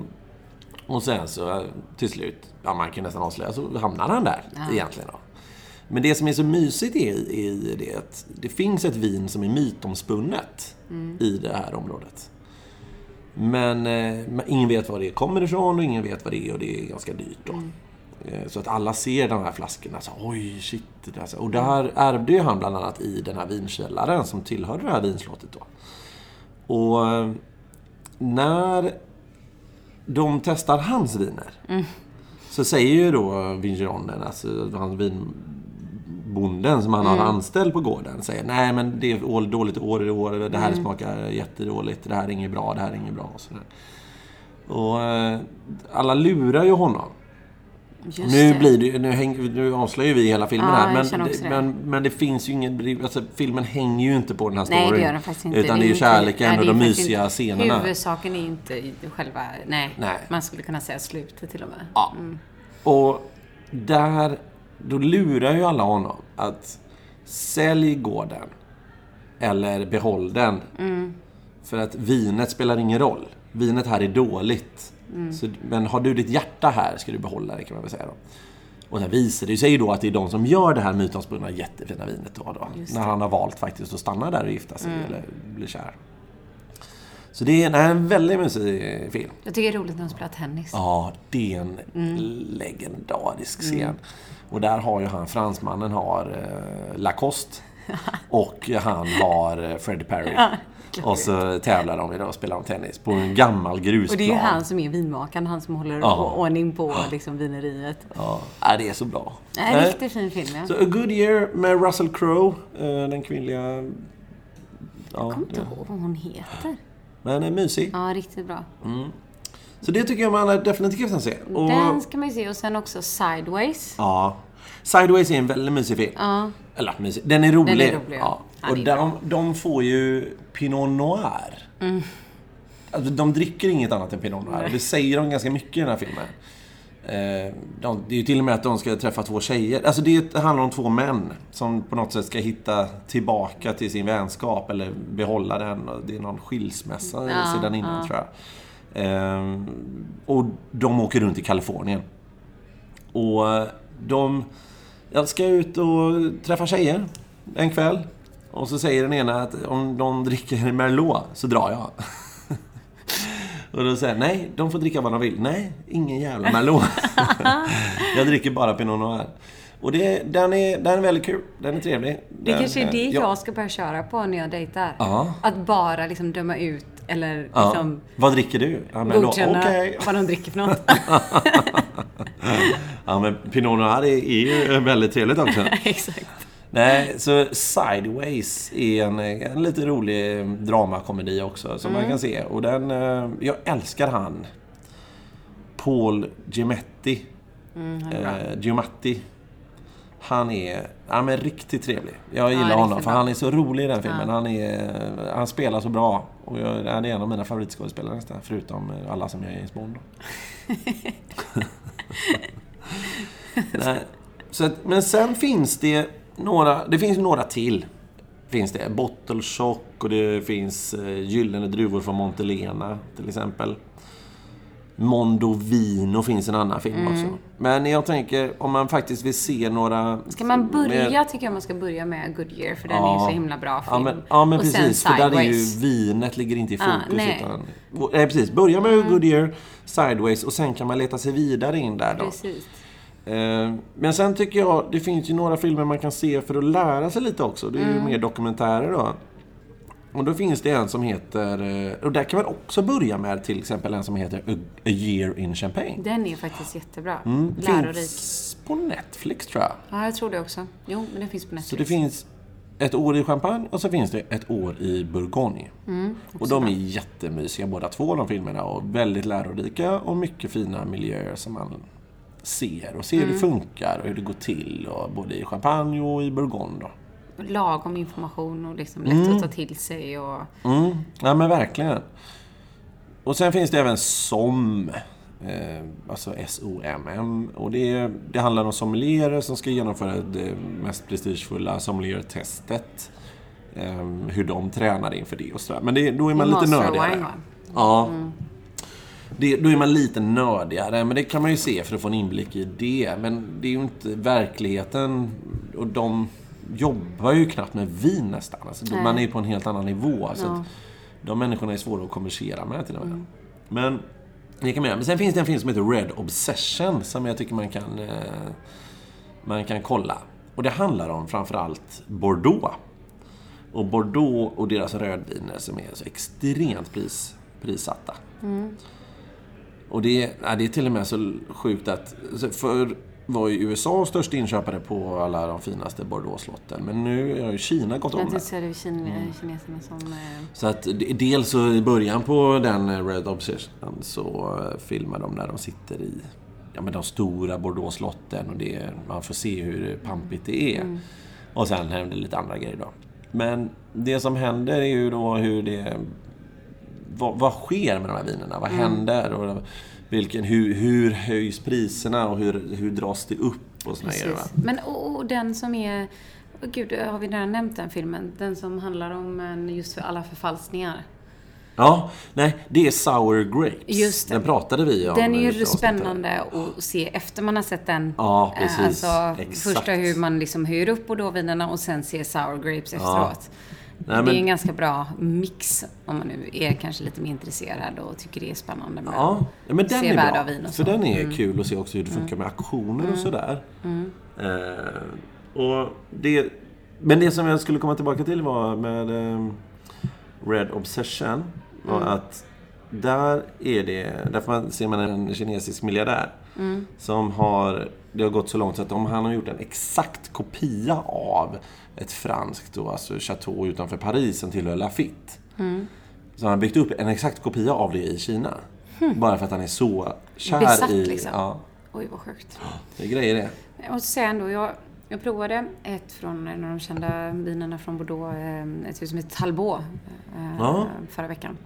Speaker 2: och sen så eh, till slut, ja man kan nästan avslöja, så hamnar han där egentligen. Då. Men det som är så mysigt är, är det att det finns ett vin som är mytomspunnet i det här området. Men eh, men ingen vet var det kommer ifrån och ingen vet vad det är och det är ganska dyrt då. Eh, Så att alla ser de här flaskorna så oj shit. Det där. så- Och det här ärvde ju han bland annat i den här vinkällaren som tillhörde det här vinslottet då. Och eh, när de testar hans viner Så säger ju då Vigionen, alltså han vinbonden som han
Speaker 3: Mm.
Speaker 2: har anställd på gården, säger nej men det är år- dåligt år i år, det
Speaker 3: Mm.
Speaker 2: här smakar jättedåligt, det här är inget bra, det här är inget bra. Och, sådär. och eh, alla lurar ju honom.
Speaker 3: Just
Speaker 2: Nu,
Speaker 3: det.
Speaker 2: blir det, ju- nu, häng, nu avslöjar vi hela filmen
Speaker 3: Ja,
Speaker 2: här,
Speaker 3: jag
Speaker 2: men,
Speaker 3: känner också
Speaker 2: det-
Speaker 3: det.
Speaker 2: men, men det finns ju ingen... Alltså, filmen hänger ju inte på den här
Speaker 3: Nej,
Speaker 2: storyn.
Speaker 3: det gör den faktiskt inte.
Speaker 2: Utan det är ju
Speaker 3: inte-
Speaker 2: kärleken
Speaker 3: nej, det
Speaker 2: och
Speaker 3: är
Speaker 2: de
Speaker 3: faktiskt
Speaker 2: mysiga
Speaker 3: inte-
Speaker 2: scenerna.
Speaker 3: Huvudsaken är inte i- själva... Nej,
Speaker 2: Nej.
Speaker 3: man skulle kunna säga slutet till och med.
Speaker 2: Ja. Och där, då lurar ju alla honom att sälj gården eller behåll den. För att vinet spelar ingen roll. Vinet här är dåligt. Så, men har du ditt hjärta här ska du behålla det kan man väl säga då. Och sen visar det sig ju då att det är de som gör det här mytomspunna jättefina vinet då. och då när han har valt faktiskt att stanna där och gifta sig eller bli kär. Så det är nej, en väldigt mysig film.
Speaker 3: Jag tycker det är roligt när de spelar tennis.
Speaker 2: Ja, det är en legendarisk scen.
Speaker 3: Mm.
Speaker 2: Och där har ju han, fransmannen har eh, Lacoste och han har eh, Fred Perry. och så tävlar de idag och spelar om tennis på en gammal grusplan.
Speaker 3: Och det är ju han som är vinmakaren, han som håller
Speaker 2: Ja.
Speaker 3: ordning på liksom, vineriet.
Speaker 2: Ja, nej, det är så bra.
Speaker 3: Nej,
Speaker 2: Nej.
Speaker 3: riktigt fin film ja.
Speaker 2: Så A Good Year med Russell Crowe, eh, den kvinnliga... Ja,
Speaker 3: Jag kommer inte ihåg vad hon heter.
Speaker 2: men är mysig.
Speaker 3: Ja, riktigt bra.
Speaker 2: Så det tycker jag man definitivt kan se. Och,
Speaker 3: Den ska man ju se och sen också Sideways.
Speaker 2: Ja. Sideways är en väldigt mysig film. Eller mysig. Den är rolig.
Speaker 3: Den är rolig,
Speaker 2: ja.
Speaker 3: ja.
Speaker 2: Och
Speaker 3: Ja, det är
Speaker 2: de, de får ju Pinot Noir.
Speaker 3: Mm.
Speaker 2: Alltså, de dricker inget annat än Pinot Noir. Och det säger de ganska mycket i den här filmen. Eh, De, det är ju till och med att de ska träffa två tjejer. Alltså det handlar om två män som på något sätt ska hitta tillbaka till sin vänskap eller behålla den. Och Det är någon skilsmässa sedan innan tror jag. Ehm, och de åker runt i Kalifornien. Och eh, de jag ska ut och träffa tjejer en kväll. Och så säger den ena att om de dricker Merlot så drar jag. och då säger jag, nej, de får dricka vad de vill. Nej, ingen jävla Merlot. jag dricker bara Pinot Noir. Och det, den, är, den är väldigt kul. Den är trevlig.
Speaker 3: Det
Speaker 2: Den eh,
Speaker 3: kanske är det
Speaker 2: ja.
Speaker 3: jag ska börja köra på när jag dejtar.
Speaker 2: Ja.
Speaker 3: Att bara liksom döma ut eller
Speaker 2: Ja.
Speaker 3: liksom
Speaker 2: Vad dricker du? Ja, Merlot.
Speaker 3: godkänna
Speaker 2: Okej.
Speaker 3: vad de dricker för något.
Speaker 2: Ja, men Pinot Noir är, är ju väldigt trevligt också.
Speaker 3: Exakt.
Speaker 2: Nej, så Sideways är en, en lite rolig dramakomedi också som man kan se. Och den, eh, jag älskar han. Paul Giamatti. eh, Giamatti. Han är, ja, men riktigt trevlig. Jag gillar
Speaker 3: riktigt
Speaker 2: honom för
Speaker 3: bra.
Speaker 2: han är så rolig i den filmen. Han, är, han spelar så bra. Och jag, han är en av mina favoritskådespelare nästan. Förutom alla som jag är i Bond. då. Nej. Så att, men sen finns det några, det finns några till. Finns det. Bottle Shock och det finns eh, Gyllene Druvor från Montelena till exempel. Mondo Vino finns en annan film
Speaker 3: Mm.
Speaker 2: också. Men jag tänker om man faktiskt vill se några...
Speaker 3: Ska man börja,
Speaker 2: mer-
Speaker 3: tycker jag man ska börja med Goodyear för den är ju så himla bra film.
Speaker 2: Ja men, ja, men
Speaker 3: och
Speaker 2: precis. För
Speaker 3: sen
Speaker 2: där är ju
Speaker 3: Sideways.
Speaker 2: vinet ligger inte i
Speaker 3: Ah,
Speaker 2: fokus.
Speaker 3: nej. Mm.
Speaker 2: utan, nej, precis. Börja med Goodyear, Sideways och sen kan man leta sig vidare in där då.
Speaker 3: Precis.
Speaker 2: Eh, Men sen tycker jag, det finns ju några filmer man kan se för att lära sig lite också. Det är ju mer dokumentärer då. Och då finns det en som heter, eh, och där kan man också börja med till exempel en som heter A, A year in Champagne.
Speaker 3: Den är faktiskt jättebra. Lärorik.
Speaker 2: Mm, Finns på Netflix tror jag.
Speaker 3: Ja, jag tror det också. Jo, men den finns på Netflix.
Speaker 2: Så det finns ett år i Champagne och så finns det ett år i Bourgogne. och de är jättemysiga båda två de filmerna och väldigt lärorika och mycket fina miljöer som man ser och ser hur det funkar och hur det går till och både i Champagne och i Bourgogne. Då.
Speaker 3: Lagom information och liksom lätt att ta till sig och...
Speaker 2: Mm. Ja men verkligen. Och sen finns det även SOM. Eh, alltså S-O-M-M. Och det, det handlar om sommelierer som ska genomföra det mest prestigefulla sommeliertestet. Eh, hur de tränar inför det och sådär. Men det, då är man
Speaker 3: Det är
Speaker 2: lite
Speaker 3: Master
Speaker 2: nördigare.
Speaker 3: Wine, va?
Speaker 2: Ja. Det, då är man lite nördigare, men det kan man ju se för att få en inblick i det. Men det är ju inte verkligheten. Och de jobbar ju knappt med vin nästan. Alltså, de- man är ju på en helt annan nivå. Så att de människorna är svåra att konversera med till och med. Men det kan man göra. Men sen finns det en film som heter Red Obsession som jag tycker man kan, eh, man kan kolla. Och det handlar om framförallt Bordeaux. Och Bordeaux och deras rödviner som är så extremt pris, prissatta. Och det, ja, det är till och med så sjukt att... så Förr var ju USA störst inköpare på alla de finaste Bordeaux-slotten. Men nu har ju Kina gått om
Speaker 3: Jag
Speaker 2: det.
Speaker 3: tyckte det var kin-
Speaker 2: Mm.
Speaker 3: kineserna som... eh,
Speaker 2: Så att d- dels så i början på den eh, Red Obsession så eh, filmar de när de sitter i ja, men de stora Bordeaux-slotten och det, man får se hur pampigt det är.
Speaker 3: Mm.
Speaker 2: Och sen händer lite andra grejer då. Men det som händer är ju då hur det... Vad, vad sker med de här vinerna?
Speaker 3: Mm.
Speaker 2: Vad händer? Och vilken, hur, hur höjs priserna och hur, hur dras det upp? Och såna grejer, va?
Speaker 3: Precis. Men och, och den som är... åh, Gud, har vi redan nämnt den filmen? Den som handlar om en, just för alla förfalskningar.
Speaker 2: Ja, nej, det är Sour Grapes.
Speaker 3: Just det.
Speaker 2: Den pratade vi om.
Speaker 3: Den
Speaker 2: i
Speaker 3: är ju
Speaker 2: ett avsnitt där.
Speaker 3: spännande att se efter man har sett den.
Speaker 2: Ja,
Speaker 3: Eh,
Speaker 2: precis.
Speaker 3: Alltså,
Speaker 2: Exakt.
Speaker 3: första hur man liksom höjer upp Bordeauxvinerna och sen ser sour grapes efteråt.
Speaker 2: Nej,
Speaker 3: Det
Speaker 2: men-
Speaker 3: är en ganska bra mix om man nu är kanske lite mer intresserad och tycker det är spännande. med-
Speaker 2: Ja, ja, men den
Speaker 3: Se
Speaker 2: är
Speaker 3: värde
Speaker 2: bra.
Speaker 3: av vin och
Speaker 2: För
Speaker 3: så. Mm.
Speaker 2: den är kul att se också hur det funkar med auktioner och sådär. Eh, och det, men det som jag skulle komma tillbaka till var med eh, Red Obsession. Var
Speaker 3: Mm.
Speaker 2: att där är det, därför man, ser man en kinesisk miljardär.
Speaker 3: Mm.
Speaker 2: Som har, det har gått så långt så att om han har gjort en exakt kopia av ett franskt då, alltså chateau utanför Paris som tillhör Lafitte.
Speaker 3: Mm.
Speaker 2: Så han har byggt upp en exakt kopia av det i Kina. Bara för att han är så kär
Speaker 3: Hmm. Besatt,
Speaker 2: i...
Speaker 3: liksom.
Speaker 2: Ja,
Speaker 3: Oj, vad sjukt.
Speaker 2: det är grejer det.
Speaker 3: Jag måste säga ändå, jag, jag provade ett från en av de kända vinerna från Bordeaux, eh, ett hus som heter Talbot, eh,
Speaker 2: Ja.
Speaker 3: förra veckan.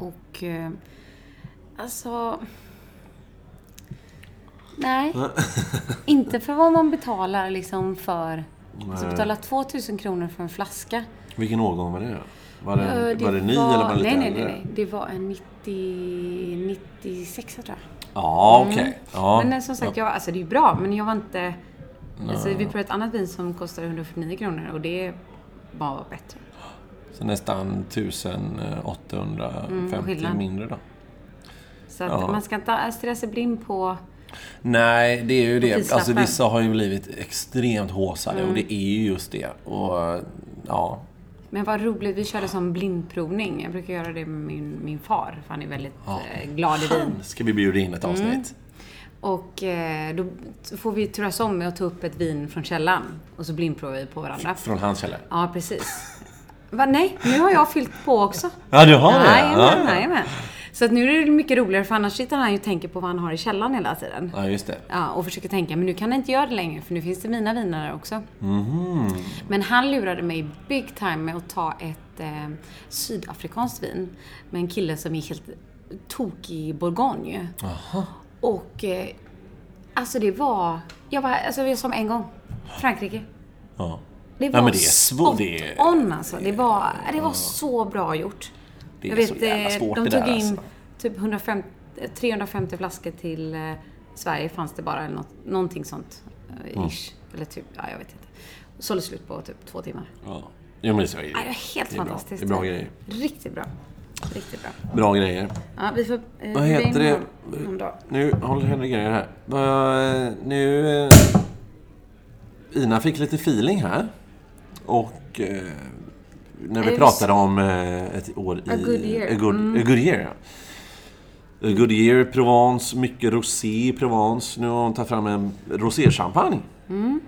Speaker 3: Och eh, alltså... Nej, inte för vad man betalar liksom för... Alltså
Speaker 2: Nej.
Speaker 3: betala 2000 kronor för en flaska.
Speaker 2: Vilken årgång var det då? Var det,
Speaker 3: Eh,
Speaker 2: var det ny eller var det lite
Speaker 3: nej, nej, nej,
Speaker 2: äldre?
Speaker 3: nej. Det var en 90, 96 tror jag.
Speaker 2: Ja, okej. Ja.
Speaker 3: Men eh, som sagt, jag, alltså det är ju bra, men jag var inte... Alltså, vi provade ett annat vin som kostade 149 kronor och det var bättre.
Speaker 2: Så nästan 1850
Speaker 3: Mm, skillnad.
Speaker 2: mindre då.
Speaker 3: Så att man ska inte alltså, stirra sig blind på...
Speaker 2: Nej, det är ju det.
Speaker 3: prislappen. Mm.
Speaker 2: Alltså vissa har ju blivit extremt håsade och det är ju just det. Och ja,
Speaker 3: Men vad roligt, vi körde som blindprovning. Jag brukar göra det med min, min far, för han är väldigt eh, glad i vin.
Speaker 2: ska vi bjuda in ett
Speaker 3: Mm.
Speaker 2: avsnitt.
Speaker 3: Och eh, då får vi turas om med att ta upp ett vin från källan och så blindprovar vi på varandra.
Speaker 2: Från hans källa.
Speaker 3: Ja, precis. Va, nej, nu har jag fyllt på också.
Speaker 2: Ja, du har det?
Speaker 3: Jajamän,
Speaker 2: Ja.
Speaker 3: jajamän. Så att nu är det mycket roligare för annars sitter han ju och tänker på vad han har i källaren hela tiden.
Speaker 2: Ja, just det.
Speaker 3: Ja, och försöker tänka, men nu kan jag inte göra det längre för nu finns det mina viner där också.
Speaker 2: Mhm.
Speaker 3: Men han lurade mig big time med att ta ett eh, sydafrikanskt vin med en kille som är helt tokig i Bourgogne. Och eh, alltså det var, jag bara, alltså vi som en gång, Frankrike.
Speaker 2: Ja.
Speaker 3: Det var
Speaker 2: Nej, men det är
Speaker 3: spot
Speaker 2: svårt. Det är...
Speaker 3: on alltså. Det var, det var så bra gjort.
Speaker 2: Det är så jävla
Speaker 3: eh,
Speaker 2: svårt
Speaker 3: de
Speaker 2: det
Speaker 3: tog
Speaker 2: där,
Speaker 3: in
Speaker 2: alltså.
Speaker 3: typ 150, eh, 350 flaskor till eh, Sverige fanns det bara, eller något, någonting sånt. eh, Ish. Eller typ, ja jag vet inte. Sålde slut på typ två timmar.
Speaker 2: Ja. Jo, men så är det.
Speaker 3: Ja, det var helt
Speaker 2: Det är bra.
Speaker 3: fantastiskt.
Speaker 2: Det är bra grejer.
Speaker 3: Riktigt bra. Riktigt bra.
Speaker 2: Bra grejer.
Speaker 3: Ja, vi får... eh,
Speaker 2: Vad heter
Speaker 3: bjuda
Speaker 2: det?
Speaker 3: in honom någon dag.
Speaker 2: Nu håller Henrik grejer här. Vad- Nu... eh, Ina fick lite feeling här. Och... eh, När vi
Speaker 3: Eh,
Speaker 2: pratade om eh, ett år i...
Speaker 3: A good year. Mm.
Speaker 2: A good, a good year, ja. A good year, Provence. Mycket rosé i Provence. Nu har hon tagit fram en roséchampagne.
Speaker 3: Mm.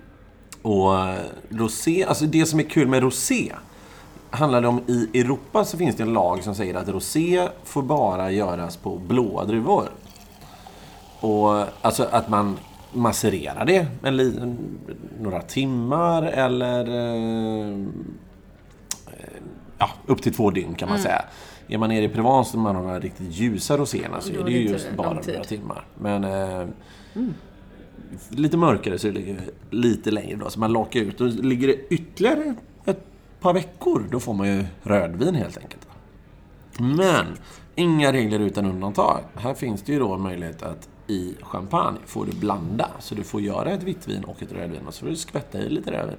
Speaker 2: Och eh, rosé, alltså det som är kul med rosé handlar det om i Europa så finns det en lag som säger att rosé får bara göras på blåa druvor. Och alltså att man masserar det en li- en- några timmar eller eh, eh, ja, upp till två dygn kan man
Speaker 3: Mm.
Speaker 2: säga. Är man nere i Provence och man har de här riktigt ljusa roséerna så
Speaker 3: Då
Speaker 2: är
Speaker 3: är
Speaker 2: det
Speaker 3: det
Speaker 2: ju
Speaker 3: inte
Speaker 2: just bara
Speaker 3: lång tid. Mm.
Speaker 2: några timmar. Men eh, lite mörkare så är det ju lite längre då. Så man lakar ut. Och ligger det ytterligare ett par veckor, då får man ju rödvin helt enkelt. Men inga regler utan undantag. Här finns det ju då en möjlighet att i champagne får du blanda. Så du får göra ett vitt vin och ett rödvin och så får du skvätta i lite rödvin.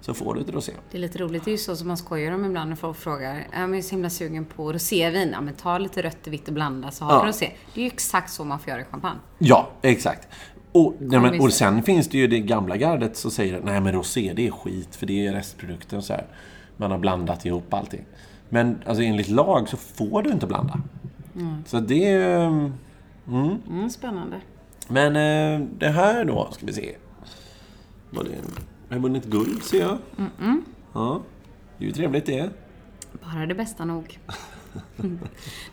Speaker 2: Så får du ett rosé.
Speaker 3: Det är lite roligt, det är ju så som man skojar om ibland när folk frågar. "Ja, men Jag är så himla sugen på rosévin. Ja, men ta lite rött och vitt och blanda så har
Speaker 2: Ja.
Speaker 3: du rosé. Det är ju exakt så man får göra i champagne.
Speaker 2: Ja, exakt. Och, nej, men, och
Speaker 3: Kompromisser.
Speaker 2: sen finns det ju det gamla gardet som säger att nej men rosé det är skit för det är restprodukten och så här. Man har blandat ihop allting. Men alltså, enligt lag så får du inte blanda. Så det... eh, Mm.
Speaker 3: Mm, spännande.
Speaker 2: Men eh, det här då, ska vi se. Var det, jag har vunnit guld ser jag. Ja, det är ju trevligt det.
Speaker 3: Bara det bästa nog.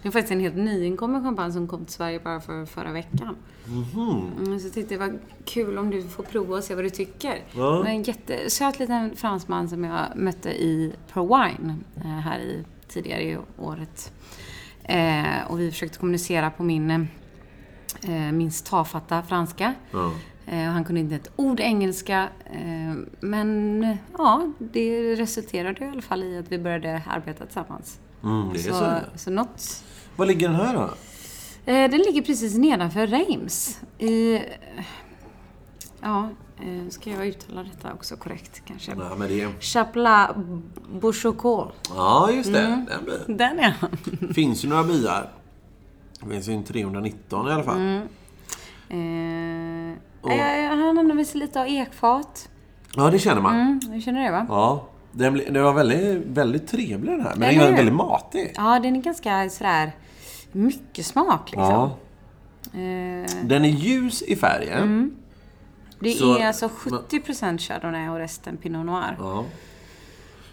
Speaker 3: det är faktiskt en helt nyinkommen champagne som kom till Sverige bara för förra veckan. Mm, så jag tyckte det var kul om du får prova och se vad du tycker.
Speaker 2: Ja.
Speaker 3: Det var en jättesöt liten fransman som jag mötte i Prowine eh, här i, tidigare i året. Eh, och vi försökte kommunicera på min, eh, min tafatta franska. Eh, och han kunde inte ett ord engelska. Eh, men eh, ja, det resulterade i alla fall i att vi började arbeta tillsammans.
Speaker 2: Mm, det är så.
Speaker 3: Så, så något.
Speaker 2: Var ligger den här då?
Speaker 3: Eh, den ligger precis nedanför Reims. I, ja, eh, ska jag uttala detta också korrekt kanske?
Speaker 2: Ja, men det...
Speaker 3: Chapla Bouchocol.
Speaker 2: ja just det.
Speaker 3: Mm.
Speaker 2: Den blir.
Speaker 3: Den är
Speaker 2: finns ju några byar. Det finns ju en 319 i alla fall.
Speaker 3: Mm. eh, eh, Han använder sig lite av ekfat.
Speaker 2: Ja, det känner man.
Speaker 3: Mm, du känner det va?
Speaker 2: Ja. Den, bli- den var väldigt, väldigt trevlig den här. Men
Speaker 3: Eller
Speaker 2: den är
Speaker 3: hur?
Speaker 2: väldigt matig.
Speaker 3: Ja, den är ganska sådär mycket smak liksom.
Speaker 2: Ja.
Speaker 3: Eh, Mm.
Speaker 2: Den är ljus i färgen.
Speaker 3: Det
Speaker 2: Så-
Speaker 3: är alltså 70% Chardonnay och resten Pinot Noir.
Speaker 2: Ja.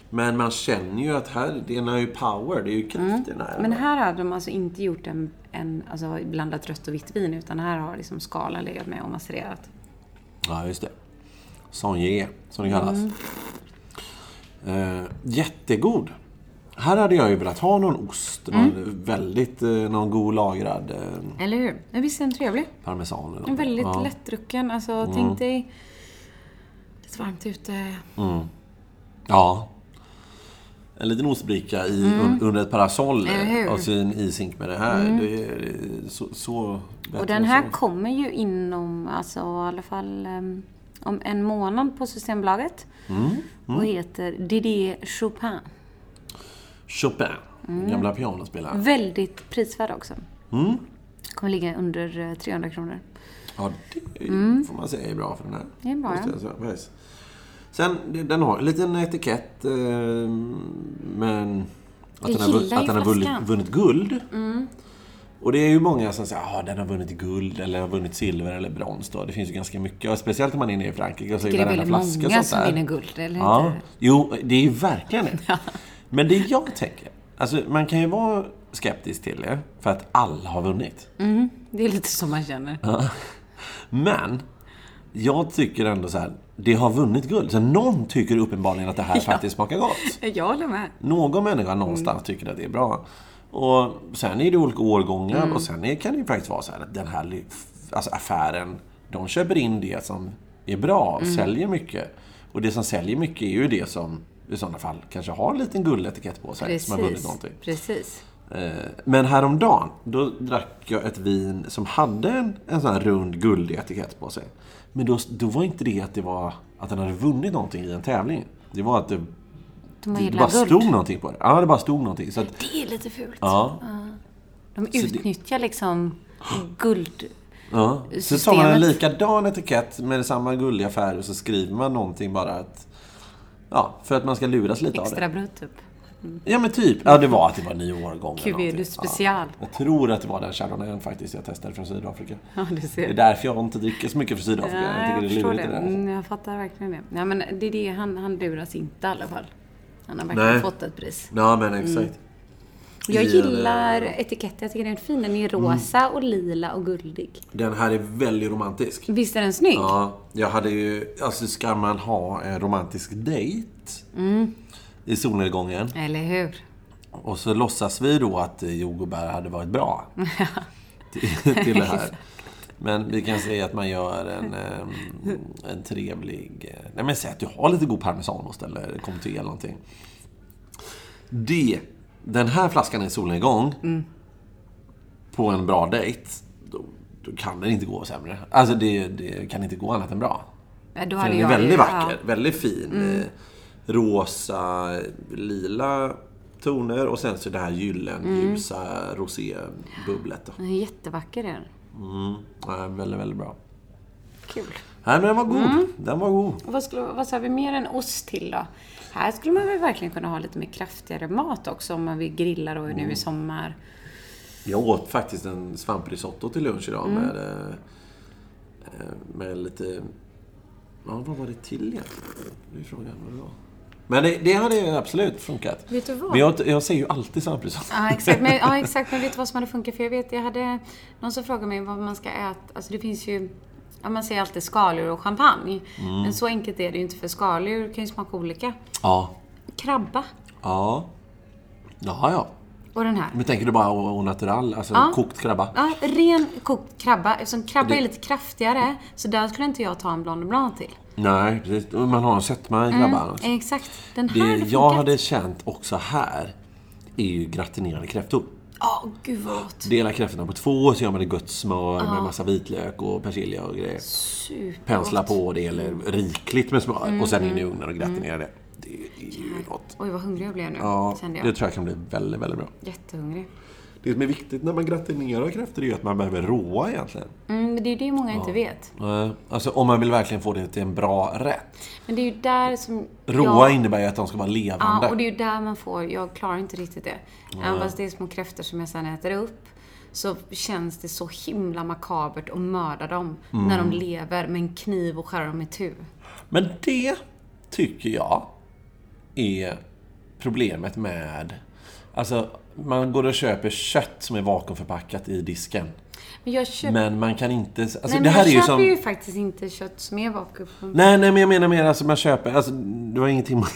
Speaker 2: Men man känner ju att här, den har ju power. Det är ju kraft i den här.
Speaker 3: Mm. Men här har de alltså inte gjort en, en alltså blandat rött och vitt vin utan här har liksom skalan legat med och masserat.
Speaker 2: Ja, just det. Saunier, som det kallas.
Speaker 3: Mm.
Speaker 2: Eh, jättegod. Här hade jag ju velat ha någon ost.
Speaker 3: Mm.
Speaker 2: Någon väldigt, eh, någon god lagrad eh,
Speaker 3: Eller hur? Ja, Visst är den trevlig?
Speaker 2: parmesan. Eller
Speaker 3: En
Speaker 2: något.
Speaker 3: väldigt
Speaker 2: ja.
Speaker 3: lättdrucken. Alltså tänk dig lite varmt ute.
Speaker 2: Ja. En liten ostbricka i, un, under ett parasoll
Speaker 3: Mm. Eller
Speaker 2: eh,
Speaker 3: hur? Mm.
Speaker 2: och så en isink med det här. Det är eh, så, så bättre
Speaker 3: Och den
Speaker 2: än
Speaker 3: här
Speaker 2: så.
Speaker 3: kommer ju inom, alltså i alla fall em, om en månad på Systembolaget.
Speaker 2: Mm,
Speaker 3: Och heter Didier Chopin.
Speaker 2: Chopin, den
Speaker 3: Mm.
Speaker 2: gamla pianospelaren.
Speaker 3: Väldigt prisvärd också.
Speaker 2: Mm.
Speaker 3: Kommer ligga under eh, 300 kronor.
Speaker 2: Ja, det får man säga är bra för den här.
Speaker 3: Mm. Det är bra,
Speaker 2: Just
Speaker 3: ja.
Speaker 2: så, precis. Sen, det- den har en liten etikett, eh, men att
Speaker 3: Jag
Speaker 2: den har, vu-
Speaker 3: gillar ju
Speaker 2: att den har vunnit,
Speaker 3: flaskan. Mm.
Speaker 2: vunnit guld. Och det är ju många som säger att ah, den har vunnit guld eller har vunnit silver eller brons. Då. Det finns ju ganska mycket. Och speciellt om man är inne i Frankrike så är
Speaker 3: Det är
Speaker 2: varenda
Speaker 3: väldigt
Speaker 2: flaska
Speaker 3: många
Speaker 2: sånt
Speaker 3: som
Speaker 2: där.
Speaker 3: vinner guld, eller
Speaker 2: Ja.
Speaker 3: hur?
Speaker 2: Jo, det är ju verkligen det. Men det jag tänker, alltså man kan ju vara skeptisk till det för att alla har vunnit.
Speaker 3: Mm, det är lite som man känner.
Speaker 2: Men jag tycker ändå så här, det har vunnit guld. Så någon tycker uppenbarligen att det här faktiskt smakar gott.
Speaker 3: Jag håller med.
Speaker 2: Någon människa någonstans tycker att det är bra. Och sen är det olika årgångar och sen är, kan det ju faktiskt vara så här att den här li- f- alltså affären, de köper in det som är bra och säljer mycket. Och det som säljer mycket är ju det som i sådana fall kanske har en liten guldetikett på sig som har vunnit
Speaker 3: Precis.
Speaker 2: någonting.
Speaker 3: Precis.
Speaker 2: Eh, Men häromdagen, då drack jag ett vin som hade en, en sån här rund guldig etikett på sig. Men då, då var inte det att det var att den hade vunnit någonting i en tävling. Det var att det,
Speaker 3: De
Speaker 2: det bara
Speaker 3: har gillat guld.
Speaker 2: stod någonting på det. Ja, det bara stod någonting. Så att,
Speaker 3: Det är lite fult.
Speaker 2: ja,
Speaker 3: De utnyttjar liksom guld...
Speaker 2: ja. Så tar man en
Speaker 3: Systemet.
Speaker 2: likadan etikett med samma guldiga färg och så skriver man någonting bara att... Ja, för att man ska luras lite av det.
Speaker 3: Extra bröd typ.
Speaker 2: Ja men typ. Ja det var att det var ny årgång. eller
Speaker 3: Cuvée
Speaker 2: någonting.
Speaker 3: du special.
Speaker 2: Ja. Jag tror att det var den Chardonnayen faktiskt jag testade från Sydafrika.
Speaker 3: Ja, du ser.
Speaker 2: Det är därför jag inte dricker så mycket från Sydafrika.
Speaker 3: Ja,
Speaker 2: jag
Speaker 3: jag
Speaker 2: tycker
Speaker 3: förstår
Speaker 2: det
Speaker 3: det.
Speaker 2: är lurigt det där.
Speaker 3: Mm, jag fattar verkligen det. Nej, men det är det. Han, han luras inte i alla fall. Han har verkligen
Speaker 2: Nej.
Speaker 3: fått ett pris.
Speaker 2: Ja men exakt.
Speaker 3: Jag
Speaker 2: I en,
Speaker 3: gillar
Speaker 2: eh,
Speaker 3: etiketten. Jag tycker den är fin. Den är
Speaker 2: Mm.
Speaker 3: rosa och lila och guldig.
Speaker 2: Den här är väldigt romantisk.
Speaker 3: Visst är den snygg?
Speaker 2: Ja, jag hade ju... Alltså ska man ha en romantisk dejt
Speaker 3: Mm.
Speaker 2: i solnedgången
Speaker 3: Eller hur?
Speaker 2: och så låtsas vi då att eh, jordgubbar hade varit bra. till, till det här. Men vi kan säga att man gör en, eh, en trevlig... eh, Nej men säg att du har lite god parmesanost eller comté eller någonting. Det, den här flaskan i solnedgång på en bra dejt, då, då kan den inte gå sämre. Alltså det, det kan inte gå annat än bra.
Speaker 3: Ja, Mm. Då
Speaker 2: För
Speaker 3: hade
Speaker 2: den är
Speaker 3: jag
Speaker 2: väldigt
Speaker 3: ju-
Speaker 2: vacker, väldigt fin. eh, Rosa, lila toner och sen så det här
Speaker 3: Mm.
Speaker 2: gyllenljusa rosébubblet. Då.
Speaker 3: Ja, den är jättevacker är den.
Speaker 2: Ja, väldigt, väldigt bra.
Speaker 3: Kul.
Speaker 2: Nej, men den var god.
Speaker 3: Mm.
Speaker 2: Den var god.
Speaker 3: Och Vad, skulle, vad sa vi mer än ost till då? Här
Speaker 2: Mm.
Speaker 3: skulle man väl verkligen kunna ha lite mer kraftigare mat också om man vill grilla då nu i sommar.
Speaker 2: Jag åt faktiskt en svamprisotto till lunch idag
Speaker 3: Mm.
Speaker 2: med, eh, eh, med lite... Ja, vad var det till egentligen? Det är frågan vad det var. Men det, det hade ju absolut funkat.
Speaker 3: Vet du vad?
Speaker 2: Men jag, jag säger ju alltid svamprisotto.
Speaker 3: Ja exakt. Men, ja, exakt. Men vet du vad som hade funkat? För jag vet, jag hade någon som frågade mig vad man ska äta. Alltså det finns ju, ja, man säger alltid skaldjur och champagne.
Speaker 2: Mm.
Speaker 3: Men så enkelt är det ju inte för skaldjur kan ju smaka olika.
Speaker 2: Ja.
Speaker 3: Krabba
Speaker 2: Ja. Ja, ja.
Speaker 3: och den här.
Speaker 2: Men tänker du bara au- au natural? Alltså
Speaker 3: Ja.
Speaker 2: kokt krabba?
Speaker 3: Ja, ren kokt krabba. Eftersom krabba
Speaker 2: Det-
Speaker 3: är lite kraftigare, så där skulle inte jag ta en Blonde Blanc till.
Speaker 2: Nej, precis. Man har en sötma
Speaker 3: Mm.
Speaker 2: i krabban. alltså.
Speaker 3: Exakt. Den här
Speaker 2: Det
Speaker 3: hade
Speaker 2: jag
Speaker 3: funkat.
Speaker 2: hade känt också här är ju gratinerade kräftor.
Speaker 3: Ja, gud vad gott.
Speaker 2: Dela kräftorna på två så gör man det gött smör med massa vitlök och persilja och grejer.
Speaker 3: Supergott.
Speaker 2: Pensla på det eller rikligt med smör och sen in
Speaker 3: Mm.
Speaker 2: i ugnen och gratinera det. Det är ju gott.
Speaker 3: Oj, vad hungrig jag blev nu,
Speaker 2: Ja,
Speaker 3: kände jag.
Speaker 2: det tror jag kan bli väldigt, väldigt bra.
Speaker 3: Jättehungrig.
Speaker 2: Det som är viktigt när man gratinerar kräftor är ju att man behöver råa egentligen.
Speaker 3: Mm, men det är ju det många inte vet.
Speaker 2: Eh, Alltså om man vill verkligen få det till en bra rätt.
Speaker 3: Men det är ju där som...
Speaker 2: Råa
Speaker 3: jag-
Speaker 2: innebär ju att de ska vara levande.
Speaker 3: Ja, och det är ju där man får... Jag klarar inte riktigt det. Även fast det är små kräftor som jag sen äter upp så känns det så himla makabert att mörda dem när
Speaker 2: Mm.
Speaker 3: de lever med en kniv och skära dem i tu.
Speaker 2: Men det tycker jag är problemet med... Alltså, man går och köper kött som är vakuumförpackat i disken.
Speaker 3: Men jag köper...
Speaker 2: Men man kan inte... Alltså,
Speaker 3: Typ. Nej, men
Speaker 2: det här
Speaker 3: jag
Speaker 2: är ju
Speaker 3: köper
Speaker 2: som...
Speaker 3: ju faktiskt inte kött som är vakuum.
Speaker 2: Nej, nej, men jag menar mer alltså man köper... Alltså, det var ingenting... man-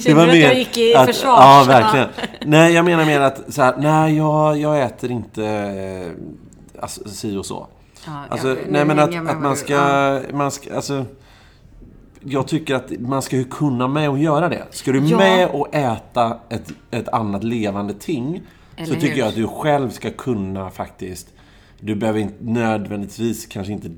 Speaker 3: Känner du att jag gick i
Speaker 2: att-
Speaker 3: försvar?
Speaker 2: Ja, verkligen. Nej, jag menar mer att så här, nej, jag, jag äter inte eh, alltså, si och så.
Speaker 3: Ja,
Speaker 2: Alltså,
Speaker 3: jag- nu
Speaker 2: nej men
Speaker 3: hänger
Speaker 2: att,
Speaker 3: jag med
Speaker 2: att
Speaker 3: vad
Speaker 2: man
Speaker 3: du-
Speaker 2: ska,
Speaker 3: ja.
Speaker 2: man ska, alltså Jag tycker att man ska ju kunna med och göra det. Ska du
Speaker 3: Ja.
Speaker 2: med och äta ett, ett annat levande ting
Speaker 3: Eller
Speaker 2: så tycker
Speaker 3: hur?
Speaker 2: jag att du själv ska kunna faktiskt Du behöver inte, nödvändigtvis kanske inte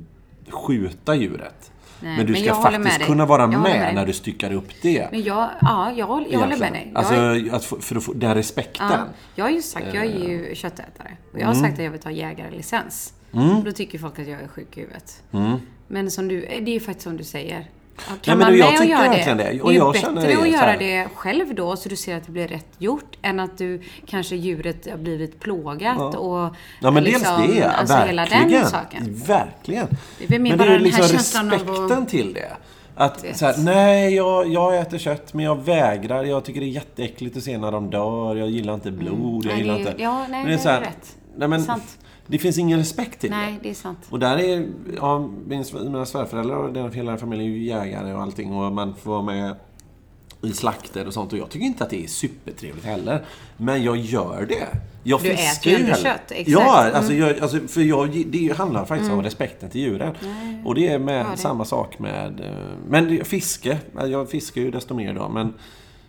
Speaker 2: skjuta djuret.
Speaker 3: Nej,
Speaker 2: men du
Speaker 3: men
Speaker 2: ska
Speaker 3: jag håller med
Speaker 2: faktiskt
Speaker 3: dig.
Speaker 2: kunna vara
Speaker 3: Jag
Speaker 2: med,
Speaker 3: håller med dig.
Speaker 2: när du styckar upp det.
Speaker 3: Men jag, ja, jag, håller- jag håller
Speaker 2: egentligen.
Speaker 3: med dig. Jag,
Speaker 2: Alltså, att få, för att få den Eh. Mm. respekten.
Speaker 3: ja, jag har ju sagt, jag är ju köttätare. Och jag har sagt att jag vill ta jägarlicens.
Speaker 2: Mm.
Speaker 3: Då tycker folk att jag är sjuk i huvudet. Men som du, eh, det är ju faktiskt som du säger. Ja,
Speaker 2: men
Speaker 3: Kan man
Speaker 2: du, jag
Speaker 3: med och
Speaker 2: tycker
Speaker 3: göra det?
Speaker 2: verkligen det.
Speaker 3: Det
Speaker 2: Och
Speaker 3: är ju
Speaker 2: jag känner det
Speaker 3: bättre att
Speaker 2: så här.
Speaker 3: göra det själv då, så du ser att det blir rätt gjort, än att du kanske djuret har blivit plågat och...
Speaker 2: Ja men
Speaker 3: liksom,
Speaker 2: dels det,
Speaker 3: alltså hela
Speaker 2: verkligen.
Speaker 3: den saken.
Speaker 2: Verkligen.
Speaker 3: Det är väl mer
Speaker 2: men det
Speaker 3: bara
Speaker 2: är
Speaker 3: den här
Speaker 2: liksom
Speaker 3: känslan av att-
Speaker 2: respekten till det. Att
Speaker 3: vet.
Speaker 2: så här, nej jag, jag äter kött men jag vägrar. Jag tycker det är jätteäckligt att se när de dör. Jag gillar inte blod. Jag
Speaker 3: Mm. Nej,
Speaker 2: gillar
Speaker 3: det är-
Speaker 2: inte...
Speaker 3: ja, nej,
Speaker 2: Men
Speaker 3: det
Speaker 2: så
Speaker 3: är
Speaker 2: här,
Speaker 3: rätt.
Speaker 2: Nej, men,
Speaker 3: Sant.
Speaker 2: det finns ingen respekt till det.
Speaker 3: Nej, det är sant.
Speaker 2: Och där är, ja, min, sv- mina svärföräldrar och deras hela familj är ju jägare och allting och man får vara med i slakter och sånt och jag tycker inte att det är supertrevligt heller. Men jag gör det. Jag
Speaker 3: Du
Speaker 2: fiskar
Speaker 3: äter ju ändå
Speaker 2: hellre.
Speaker 3: kött, exakt. Mm.
Speaker 2: Ja, alltså, jag, alltså för jag, det handlar faktiskt om respekten till djuren. Och det är med
Speaker 3: det.
Speaker 2: samma sak med... eh, Men det- fiske, jag fiskar ju desto mer idag men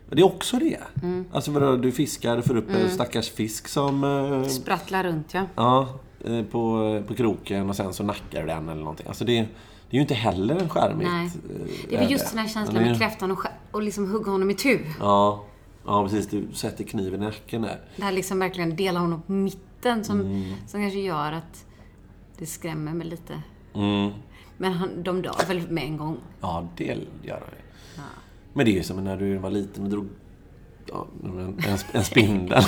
Speaker 2: det är också det.
Speaker 3: Mm.
Speaker 2: Alltså vadå, du fiskar, du får upp en stackars fisk som... eh,
Speaker 3: Sprattla runt ja.
Speaker 2: Ja, eh, på, på kroken och sen så nackar du den eller någonting. Alltså det, det är ju inte heller en charmigt.
Speaker 3: Nej.
Speaker 2: eh,
Speaker 3: Det är väl
Speaker 2: öde.
Speaker 3: just den här
Speaker 2: Men
Speaker 3: känslan
Speaker 2: det-
Speaker 3: med kräftan och, skär- och liksom hugga honom i tu.
Speaker 2: Ja, ja, precis. Du sätter kniven i nacken där.
Speaker 3: Där liksom verkligen delar honom på mitten som, som kanske gör att det skrämmer mig lite.
Speaker 2: Mm.
Speaker 3: Men han, de dör väl med en gång.
Speaker 2: Ja, det gör det. Men det är ju som när du var liten och drog ja, en, en, en spindel.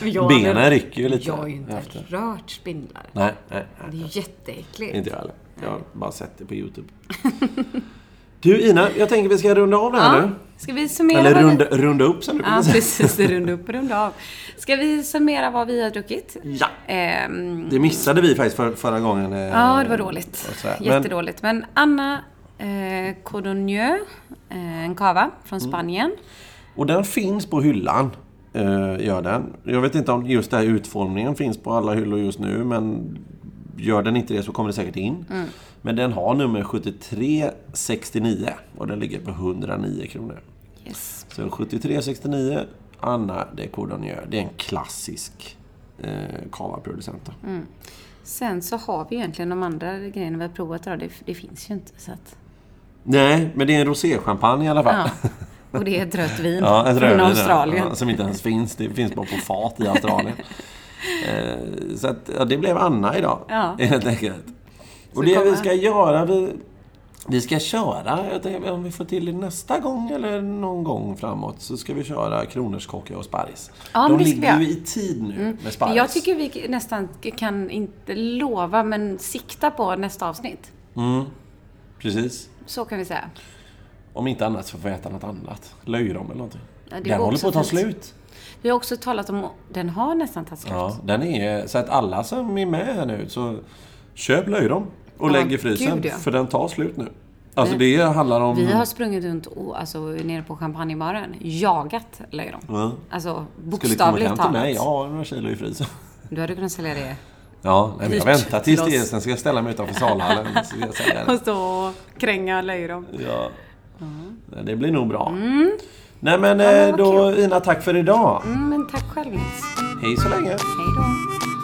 Speaker 3: Men jag-
Speaker 2: Benen rycker ju lite
Speaker 3: Jag har ju inte
Speaker 2: efter.
Speaker 3: rört spindlar.
Speaker 2: Nej, nej, nej.
Speaker 3: Det är ju jätteäckligt.
Speaker 2: Inte jag heller. Jag har bara sett det på YouTube. Du Ina, jag tänker vi ska runda av det här
Speaker 3: Ja,
Speaker 2: nu.
Speaker 3: ska vi summera?
Speaker 2: Eller
Speaker 3: vad vi-
Speaker 2: runda, runda upp som du brukar
Speaker 3: Ja,
Speaker 2: säga.
Speaker 3: precis. Runda upp och runda av. Ska vi summera vad vi har druckit?
Speaker 2: Ja.
Speaker 3: Ehm,
Speaker 2: Det missade vi faktiskt för, förra gången. eh,
Speaker 3: Ja, det var dåligt.
Speaker 2: och sådär. Men-
Speaker 3: Jättedåligt. Men Anna eh, Codognieu, eh, en cava från
Speaker 2: Mm.
Speaker 3: Spanien.
Speaker 2: Och den finns på hyllan. eh, gör den. Jag vet inte om just den här utformningen finns på alla hyllor just nu, men gör den inte det så kommer det säkert in.
Speaker 3: Mm.
Speaker 2: Men den har nummer 7369 och den ligger på 109 kronor.
Speaker 3: Yes.
Speaker 2: Så 7369 Anna de Cordonier. Det är en klassisk eh, cavaproducent. då.
Speaker 3: Mm. Sen så har vi egentligen de andra grejerna vi har provat idag. Det, det finns ju inte. Så att,
Speaker 2: Nej, men det är en roséchampagne i alla fall.
Speaker 3: ja. Och det är ett rött vin
Speaker 2: Ja, ett rödvin
Speaker 3: från
Speaker 2: där.
Speaker 3: Australien.
Speaker 2: Ja, som inte ens finns. Det finns bara på fat i Australien. Eh, så att, ja, det blev Anna idag,
Speaker 3: Ja.
Speaker 2: helt enkelt. Och
Speaker 3: Så
Speaker 2: det
Speaker 3: kommer-
Speaker 2: vi ska göra, vi Vi ska köra, jag tänker, om vi får till det nästa gång eller någon gång framåt, så ska vi köra kronärtskocka och sparris.
Speaker 3: Ja, men
Speaker 2: De
Speaker 3: det ska vi
Speaker 2: ligger
Speaker 3: göra. Mm.
Speaker 2: ju i tid nu med sparris.
Speaker 3: Jag tycker vi nästan kan, inte lova, men sikta på nästa avsnitt.
Speaker 2: Precis.
Speaker 3: Så kan vi säga.
Speaker 2: Om inte annat så får vi äta något annat. Löjrom eller någonting.
Speaker 3: Ja, det
Speaker 2: den
Speaker 3: går
Speaker 2: håller
Speaker 3: också
Speaker 2: på att ta
Speaker 3: fint.
Speaker 2: slut.
Speaker 3: Vi har också talat om, den har nästan tagit slut.
Speaker 2: Ja, den är, så att alla som är med här nu, så köp löjrom och
Speaker 3: Ja,
Speaker 2: lägg i frysen.
Speaker 3: gud, ja.
Speaker 2: För den tar slut nu. Alltså det handlar om...
Speaker 3: Vi har sprungit runt och, alltså, nere på champagnebaren, jagat löjrom.
Speaker 2: Ja.
Speaker 3: Alltså
Speaker 2: Skulle kommit
Speaker 3: bokstavligt
Speaker 2: hem till
Speaker 3: talat.
Speaker 2: mig, jag har några kilo i frysen.
Speaker 3: Du hade kunnat sälja det.
Speaker 2: Ja, nej, men jag
Speaker 3: Dyrt
Speaker 2: väntar tills
Speaker 3: till
Speaker 2: det är,
Speaker 3: oss.
Speaker 2: sen ska jag ställa mig utanför salhallen. Så ska jag sälja det.
Speaker 3: Och stå och kränga löjrom.
Speaker 2: Ja. Nej, Det blir nog bra. Nej men eh,
Speaker 3: Mm. vad
Speaker 2: då Ina, tack för idag.
Speaker 3: Mm, men tack själv Nils.
Speaker 2: Hej så länge.
Speaker 3: Hej då.